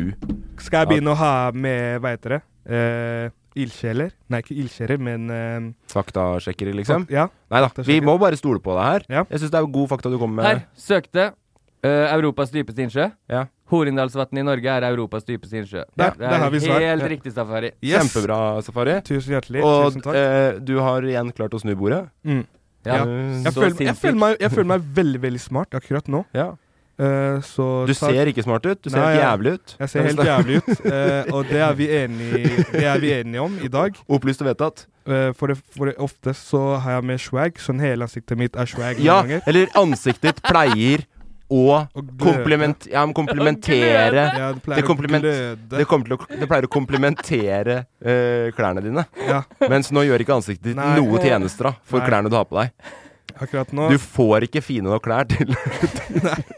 Speaker 3: Skal jeg
Speaker 2: at-
Speaker 3: begynne å ha med, hva heter det, eh, ildsjeler? Nei, ikke ildsjeler, men eh,
Speaker 2: Faktasjekkere, liksom?
Speaker 3: Fak- ja.
Speaker 2: Nei da, vi
Speaker 3: Faktasjekker.
Speaker 2: må bare stole på det her. Jeg syns det er god fakta du kommer med.
Speaker 4: Her søkte eh, Europas dypeste innsjø.
Speaker 2: Ja.
Speaker 4: Horindalsvatnet i Norge er Europas dypeste innsjø.
Speaker 2: Der,
Speaker 4: det
Speaker 2: der
Speaker 4: er
Speaker 2: har vi svar.
Speaker 4: Helt
Speaker 2: Ja.
Speaker 4: riktig, Safari.
Speaker 2: Kjempebra, Safari.
Speaker 3: Tusen hjertelig.
Speaker 2: Og
Speaker 3: Tusen takk.
Speaker 2: eh, du har igjen klart å snu bordet. Eh,
Speaker 3: Mm.
Speaker 2: Ja.
Speaker 3: Ja. Jeg, føler, jeg, føler meg, jeg føler meg veldig, veldig smart akkurat nå. Eh, så
Speaker 2: Du
Speaker 3: takk-
Speaker 2: ser ikke smart ut, du ser helt
Speaker 3: jeg-
Speaker 2: jævlig ut.
Speaker 3: Jeg ser helt jævlig ut, eh, og det er vi enige, det er vi enige om i dag.
Speaker 2: Opplyst og vedtatt.
Speaker 3: Eh, for, det, for det oftest så har jeg med swag, sånn hele ansiktet mitt er swag noen
Speaker 2: Ja,
Speaker 3: ganger.
Speaker 2: eller ansiktet ditt pleier å kompliment, ja, men
Speaker 3: Og
Speaker 2: komplementere
Speaker 3: gløde. Ja, det pleier
Speaker 2: det,
Speaker 3: å
Speaker 2: kompliment,
Speaker 3: gløde.
Speaker 2: det, kommer til å, det pleier å komplementere eh, klærne dine.
Speaker 3: Ja.
Speaker 2: Mens nå gjør ikke ansiktet ditt
Speaker 3: Nei.
Speaker 2: noe tjenester da, for
Speaker 3: Nei.
Speaker 2: klærne du har på deg.
Speaker 3: Akkurat nå
Speaker 2: Du får ikke fine nok klær til, til at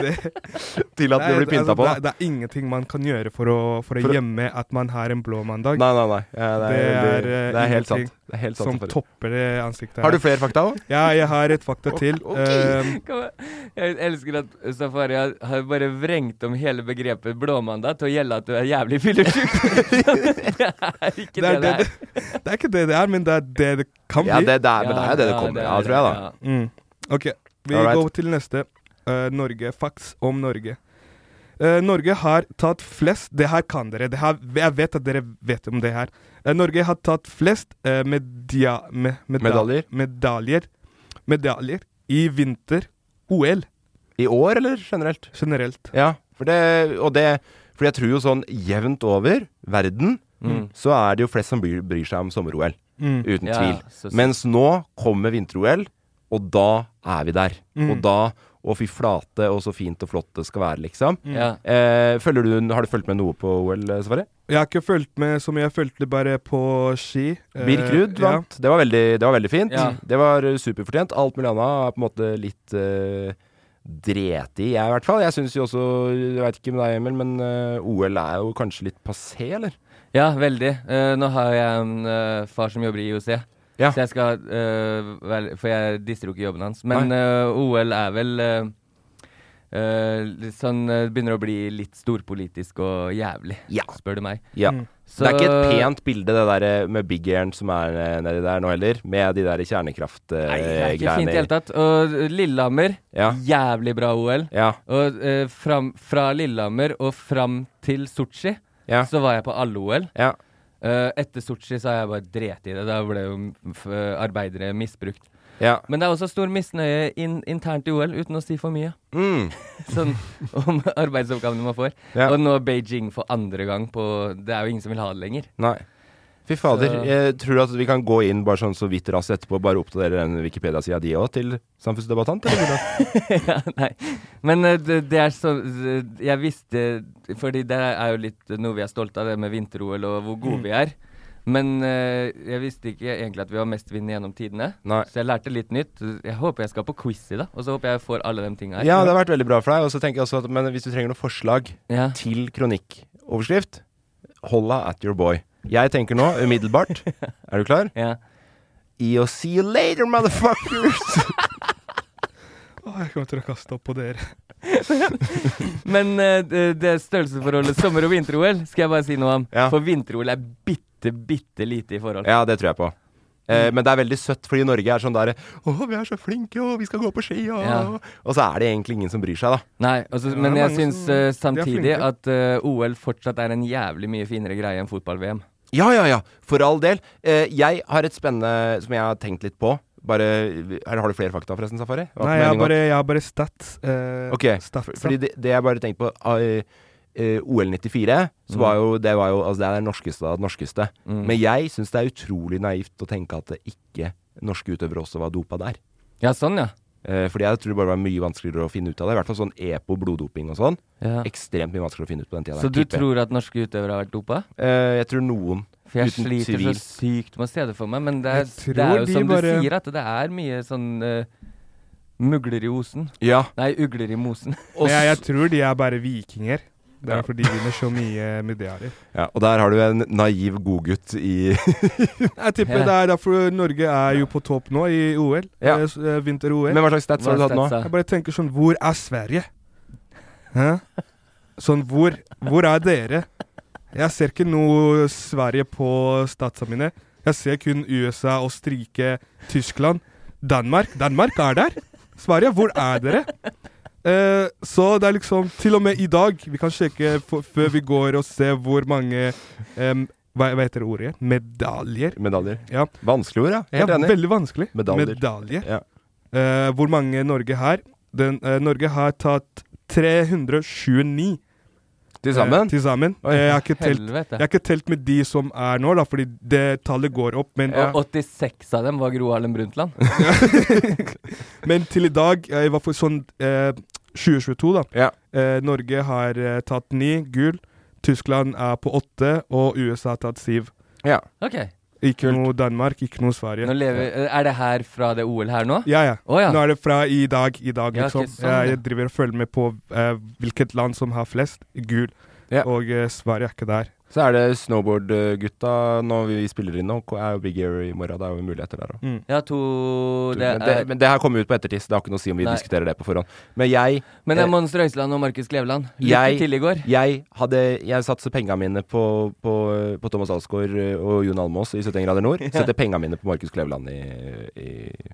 Speaker 3: Nei,
Speaker 2: du blir pynta
Speaker 3: altså,
Speaker 2: på.
Speaker 3: Det, er- det er ingenting man kan gjøre for å, for å
Speaker 2: For å-
Speaker 3: gjemme at man har en blå mandag.
Speaker 2: Nei, nei, nei. Ja, det er- det-
Speaker 3: eh,
Speaker 2: det er helt
Speaker 3: ingenting
Speaker 2: sant. Det er helt sant,
Speaker 3: Som
Speaker 2: Safari.
Speaker 3: topper det ansiktet.
Speaker 2: Har du
Speaker 3: her.
Speaker 2: flere fakta også?
Speaker 3: Ja, jeg har et fakta til. Eh,
Speaker 4: Kom igjen. Jeg elsker at Safari har- har bare vrengt om hele begrepet blåmandag til å gjelde at du er jævlig fyllesyk. det er ikke
Speaker 3: det, er
Speaker 4: det det
Speaker 3: det,
Speaker 4: er.
Speaker 3: det, det er ikke det det er, men det er det det kan bli.
Speaker 2: Ja, det, det er, men det er jo det det kommer av, tror jeg, da.
Speaker 3: Mm. Ok, vi
Speaker 2: Alright.
Speaker 3: går til neste. Eh, Norge. Facts om Norge. Eh, Norge har tatt flest Det her kan dere. Det her, jeg vet at dere vet om det her. Eh, Norge har tatt flest eh, media, me,
Speaker 2: Medaljer.
Speaker 3: medaljer. Medaljer i vinter-OL.
Speaker 2: I år, eller generelt?
Speaker 3: Generelt.
Speaker 2: Ja, for det, og det For jeg tror jo sånn jevnt over verden,
Speaker 3: Mm.
Speaker 2: så er det jo flest som bryr, bryr seg om sommer-OL.
Speaker 3: Mm.
Speaker 2: Uten
Speaker 3: Ja,
Speaker 2: tvil.
Speaker 3: så- så-
Speaker 2: Mens nå kommer vinter-OL, og da er vi der.
Speaker 3: Mm.
Speaker 2: Og da Å, fy flate, og så fint og flott det skal være, liksom.
Speaker 3: Mm. Ja.
Speaker 2: Eh, følger du, har du fulgt med noe på OL, eh, Safari?
Speaker 3: Jeg har ikke fulgt med så mye. Jeg fulgte bare på ski. Eh,
Speaker 2: Birk Ruud
Speaker 3: ja.
Speaker 2: vant. Det, var veldig, det var veldig fint.
Speaker 3: Ja.
Speaker 2: Det var eh, superfortjent. Alt mulig annet er på en måte litt uh, dreti, jeg i hvert fall. Jeg syns jo også, jeg veit ikke med deg, Emil, men eh, OL er jo kanskje litt passé, eller?
Speaker 4: Ja, veldig. Eh, nå har jeg en eh, far som jobber i IOC. Så jeg skal eh, vel, For jeg disser jo ikke jobben hans. Men eh, OL er vel eh, eh, litt sånn eh, Begynner å bli litt storpolitisk og jævlig, spør du meg.
Speaker 2: Ja.
Speaker 3: Mm.
Speaker 4: Så-
Speaker 2: Det er ikke et pent bilde, det der eh, med Big Air'n som er eh, nedi der nå heller, med de der eh,
Speaker 4: Det er ikke fint i det
Speaker 2: kjernekraftgreiene.
Speaker 4: hele tatt. Og Lillehammer,
Speaker 2: Ja.
Speaker 4: jævlig bra OL.
Speaker 2: Ja.
Speaker 4: Og eh, fram, fra Lillehammer og fram til Sotsji,
Speaker 2: Ja.
Speaker 4: så var jeg på alle OL.
Speaker 2: Ja.
Speaker 4: Eh, etter Sotsji så har jeg bare drept i det. Da ble jo f arbeidere misbrukt.
Speaker 2: Ja.
Speaker 4: Men det er også stor misnøye in internt i OL, uten å si for mye.
Speaker 2: Mm.
Speaker 4: sånn om arbeidsoppgavene man får.
Speaker 2: Ja.
Speaker 4: Og nå Beijing for andre gang på Det er jo ingen som vil ha det lenger.
Speaker 2: Nei. Fy fader.
Speaker 4: Så-
Speaker 2: Jeg tror at vi kan gå inn bare sånn så vidt raskt etterpå, bare oppdatere den Wikipedia-sida di òg, til samfunnsdebattant, eller hvordan?
Speaker 4: Men eh, det, det er så eh, Jeg visste Fordi det er jo litt noe vi er stolte av, det med vinter-OL og hvor gode
Speaker 2: Mm.
Speaker 4: vi er. Men eh, jeg visste ikke egentlig at vi var mestvinnende gjennom tidene.
Speaker 2: Nei.
Speaker 4: Så jeg lærte litt nytt. Jeg håper jeg skal på quiz i dag, og så håper jeg jeg får alle de tinga her.
Speaker 2: Ja, det har vært veldig bra for deg. Og så tenker jeg også at Men hvis du trenger noen forslag
Speaker 4: Ja.
Speaker 2: til kronikkoverskrift, holla at your boy. Jeg tenker nå umiddelbart Er du klar?
Speaker 4: Ja.
Speaker 2: I å see you later, motherfuckers!
Speaker 3: Å, jeg kommer til å kaste opp på dere.
Speaker 4: Men eh, det, det størrelsesforholdet sommer- og vinter-OL skal jeg bare si noe om. For vinter-OL er bitte, bitte lite i forhold.
Speaker 2: Ja, det tror jeg på. Eh, men det er veldig søtt, fordi Norge er sånn der Å, vi er så flinke, og vi skal gå på ski, og
Speaker 4: Ja.
Speaker 2: Og så er det egentlig ingen som bryr seg, da.
Speaker 4: Nei, altså,
Speaker 2: Ja,
Speaker 4: men
Speaker 2: det er
Speaker 4: jeg
Speaker 2: mange
Speaker 4: syns
Speaker 2: som-
Speaker 4: eh,
Speaker 2: de er
Speaker 4: samtidig
Speaker 2: flinke.
Speaker 4: at eh, OL fortsatt er en jævlig mye finere greie enn fotball-VM.
Speaker 2: Ja, ja, ja. For all del. Eh, jeg har et spennende som jeg har tenkt litt på. Bare Eller har du flere fakta, forresten, Safari? Hva
Speaker 3: Nei,
Speaker 2: er
Speaker 3: jeg har
Speaker 2: meningen nå?
Speaker 3: bare, jeg har bare stats. eh,
Speaker 2: Ok,
Speaker 3: stats,
Speaker 2: for,
Speaker 3: da.
Speaker 2: fordi det, det jeg bare tenkte på eh, eh, OL 94
Speaker 3: Mm.
Speaker 2: så var jo, det var jo altså det er det norskeste av det norskeste.
Speaker 4: Mm.
Speaker 2: Men jeg syns det er utrolig naivt å tenke at det ikke norske utøvere også var dopa der.
Speaker 4: Ja, sånn, ja.
Speaker 2: Eh, fordi jeg tror det bare var mye vanskeligere å finne ut av det. I hvert fall sånn epo, bloddoping og sånn.
Speaker 4: Ja.
Speaker 2: Ekstremt mye vanskeligere å finne ut på den tida.
Speaker 4: Så du tror at norske utøvere har vært dopa?
Speaker 2: Eh, jeg tror noen.
Speaker 4: For jeg
Speaker 2: uten
Speaker 4: sliter
Speaker 2: sivil.
Speaker 4: så sykt med å se det for meg, men det er,
Speaker 2: Jeg tror
Speaker 4: det er jo
Speaker 2: de
Speaker 4: som du
Speaker 2: bare-
Speaker 4: sier, at det er mye sånn eh, Mugler i osen.
Speaker 2: Ja.
Speaker 4: Nei, ugler i mosen.
Speaker 3: Men jeg, jeg tror de er bare vikinger. Det er derfor de vinner så mye medajer.
Speaker 2: Ja, og der har du en naiv godgutt i
Speaker 3: Jeg tipper det er derfor Norge er jo på topp nå i OL.
Speaker 2: Ja.
Speaker 3: eh, s- eh, Vinter-OL.
Speaker 2: Men hva slags stats har du hatt nå?
Speaker 3: Jeg bare tenker sånn Hvor er Sverige? Hæ? Sånn, hvor, hvor er dere? Jeg ser ikke noe Sverige på statsa mine. Jeg ser kun USA, Østerrike, Tyskland. Danmark. Danmark er der! Sverige, hvor er dere? Eh, så det er liksom Til og med i dag Vi kan sjekke f før vi går og se hvor mange em, hva, hva heter det ordet igjen? Medaljer.
Speaker 2: Medaljer.
Speaker 3: Ja.
Speaker 2: Vanskelig ord, ja.
Speaker 3: Ja,
Speaker 2: Helt enig.
Speaker 3: veldig vanskelig.
Speaker 2: Medaljer.
Speaker 3: Medalje.
Speaker 2: Ja.
Speaker 3: Eh, hvor mange Norge har? Den, eh, Norge har tatt 329.
Speaker 2: Til sammen?
Speaker 3: Eh, til sammen.
Speaker 2: Oi,
Speaker 3: Eh, jeg, har ikke telt,
Speaker 4: helvete.
Speaker 3: jeg har ikke telt med de som er nå, da, fordi det tallet går opp. Men, eh,
Speaker 4: Og 86 av dem var Gro Harlem Brundtland.
Speaker 3: men til i dag, eh, i hvert fall sånn eh, 2022, da. Eh, Norge har eh, tatt ni gull. Tyskland er på åtte, og USA har tatt syv.
Speaker 2: Ja.
Speaker 4: Ok.
Speaker 3: Ikke noe Danmark, ikke noe Sverige.
Speaker 4: Nå lever, er det her fra det OL her nå?
Speaker 3: Ja, ja.
Speaker 4: Å, ja.
Speaker 3: Nå er det fra i dag, i dag,
Speaker 4: Ja,
Speaker 3: liksom.
Speaker 4: ok, sånn,
Speaker 3: jeg,
Speaker 4: ja.
Speaker 3: jeg driver og følger med på eh, hvilket land som har flest gul. Og eh, Sverige er ikke der.
Speaker 2: Så er det snowboardgutta når vi spiller inn nå. Er jo Big Air i morgen. Det er jo muligheter der òg.
Speaker 4: Ja, to det
Speaker 2: men, det,
Speaker 4: er,
Speaker 2: men det her kommer ut på ettertid, så det har ikke noe å si om vi
Speaker 4: Nei.
Speaker 2: diskuterer det på forhånd. Men jeg
Speaker 4: Men det
Speaker 2: eh,
Speaker 4: er Mons Røiseland og Markus Kleveland. Lykke
Speaker 2: jeg,
Speaker 4: til i går.
Speaker 2: Jeg, hadde, jeg satser penga mine på, på, på Thomas Alsgaard eh, og Jon Almaas i 71 grader nord.
Speaker 4: Ja.
Speaker 2: Setter penga mine på Markus Kleveland i, i,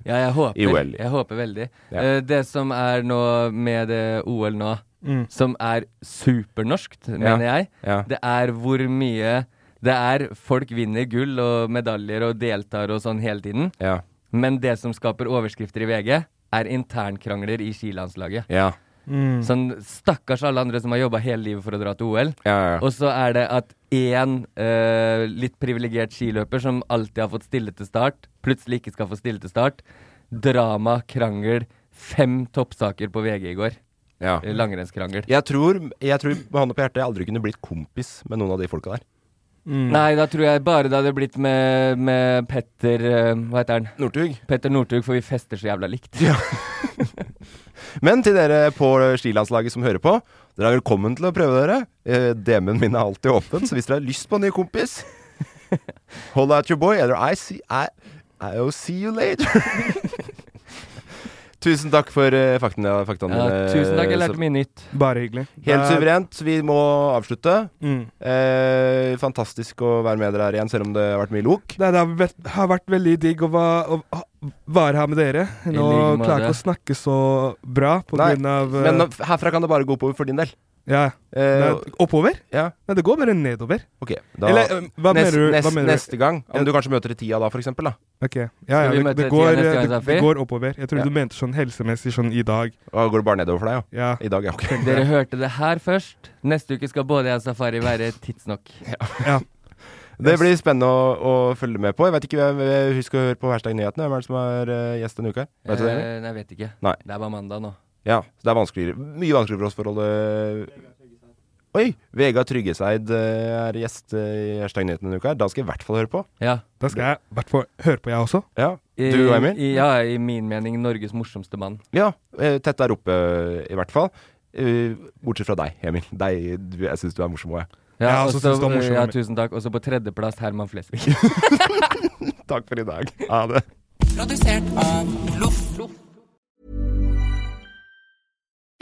Speaker 4: Ja, jeg håper.
Speaker 2: i OL.
Speaker 4: Jeg håper veldig.
Speaker 2: Ja.
Speaker 4: Eh, det som er nå med det OL nå,
Speaker 2: Mm.
Speaker 4: som er supernorskt, mener jeg,
Speaker 2: Ja.
Speaker 4: det er hvor mye Det er folk vinner gull og medaljer og deltar og sånn hele tiden,
Speaker 2: Ja.
Speaker 4: men det som skaper overskrifter i VG, er internkrangler i skilandslaget.
Speaker 2: Ja.
Speaker 4: Mm. Sånn stakkars alle andre som har jobba hele livet for å dra til OL.
Speaker 2: Ja, ja.
Speaker 4: Og så er det at én eh, litt privilegert skiløper som alltid har fått stille til start, plutselig ikke skal få stille til start. Drama, krangel. Fem toppsaker på VG i går.
Speaker 2: Ja.
Speaker 4: Eh, Langrennskrangel.
Speaker 2: Jeg tror, jeg tror med hånda på hjertet jeg aldri kunne blitt kompis med noen av de folka der. Mm.
Speaker 4: Nei, da tror jeg bare det hadde blitt med, med Petter eh, Hva heter han?
Speaker 2: Northug.
Speaker 4: Petter Northug, for vi fester så jævla likt.
Speaker 2: Men til dere på skilandslaget som hører på, dere er velkommen til å prøve dere. Eh, DM-en min er alltid åpen, så hvis dere har lyst på en ny kompis Hold out your boy, eller I see, I, I'll see you later. tusen takk for eh, faktaene. faktaene
Speaker 4: Ja,
Speaker 2: dine,
Speaker 4: tusen takk, jeg
Speaker 2: Seb.
Speaker 4: lærte mye nytt.
Speaker 3: Bare hyggelig.
Speaker 2: eh, Helt
Speaker 3: Det er-
Speaker 2: suverent. Vi må avslutte.
Speaker 3: Mm.
Speaker 2: Eh, fantastisk å være med dere her igjen, selv om det har vært mye lok.
Speaker 3: Nei, det har vært, har vært veldig digg å, va- å ha- være her med dere.
Speaker 2: I
Speaker 3: Nå
Speaker 2: like måte.
Speaker 3: klarer jeg ikke å snakke så bra på
Speaker 2: Nei,
Speaker 3: grunn av eh,
Speaker 2: Men nå- herfra kan det bare gå oppover for din del.
Speaker 3: ja.
Speaker 2: Eh,
Speaker 3: Nei, Oppover?
Speaker 2: Ja.
Speaker 3: Nei, det går bare nedover.
Speaker 2: Ok, da,
Speaker 3: Eller, eh, hva
Speaker 2: nest-
Speaker 3: mener du?
Speaker 2: nest-
Speaker 3: hva mener du?
Speaker 2: Neste gang, om du kanskje møter i tida da, for eksempel. Da.
Speaker 3: Ok, ja, ja,
Speaker 2: Skal vi
Speaker 3: det,
Speaker 2: møte
Speaker 3: det,
Speaker 2: tida
Speaker 3: går,
Speaker 2: neste gang,
Speaker 3: det, det
Speaker 2: Safi?
Speaker 3: går oppover. Jeg trodde
Speaker 2: Ja.
Speaker 3: du mente sånn helsemessig sånn i dag.
Speaker 2: Og går det bare nedover for deg,
Speaker 3: ja?
Speaker 2: I dag, ja. ok.
Speaker 4: Dere hørte det her først. Neste uke skal både jeg og Safari være tidsnok.
Speaker 2: Det blir spennende å, å følge med på. Jeg vet ikke, hvem- eh, Husk å høre på hashtag nyhetene. Hvem er det som er eh, gjest denne uka? her? Vet du det? eller?
Speaker 4: Eh, nei, jeg vet ikke.
Speaker 2: Nei.
Speaker 4: Det er bare mandag nå.
Speaker 2: Ja, så det er vanskeligere. Mye vanskeligere for oss for å holde Oi! Vegard Tryggeseid eh, er gjest eh, i hashtag nyhetene denne uka. her. Da skal jeg i hvert fall høre på.
Speaker 4: Ja.
Speaker 3: Da skal jeg i hvert fall høre på, jeg også.
Speaker 2: Ja. Du og Emil?
Speaker 4: I, ja, i min mening Norges morsomste mann.
Speaker 2: Ja, eh, tett der oppe eh, i hvert fall. Eh, Bortsett fra deg, Emil. Deg, du, jeg syns du er morsom òg, jeg.
Speaker 4: Ja,
Speaker 2: altså,
Speaker 4: også, ja, tusen takk. Også på tredjeplass Herman Flesvig.
Speaker 2: Takk for i dag. Ha det.
Speaker 6: Produsert av Loff.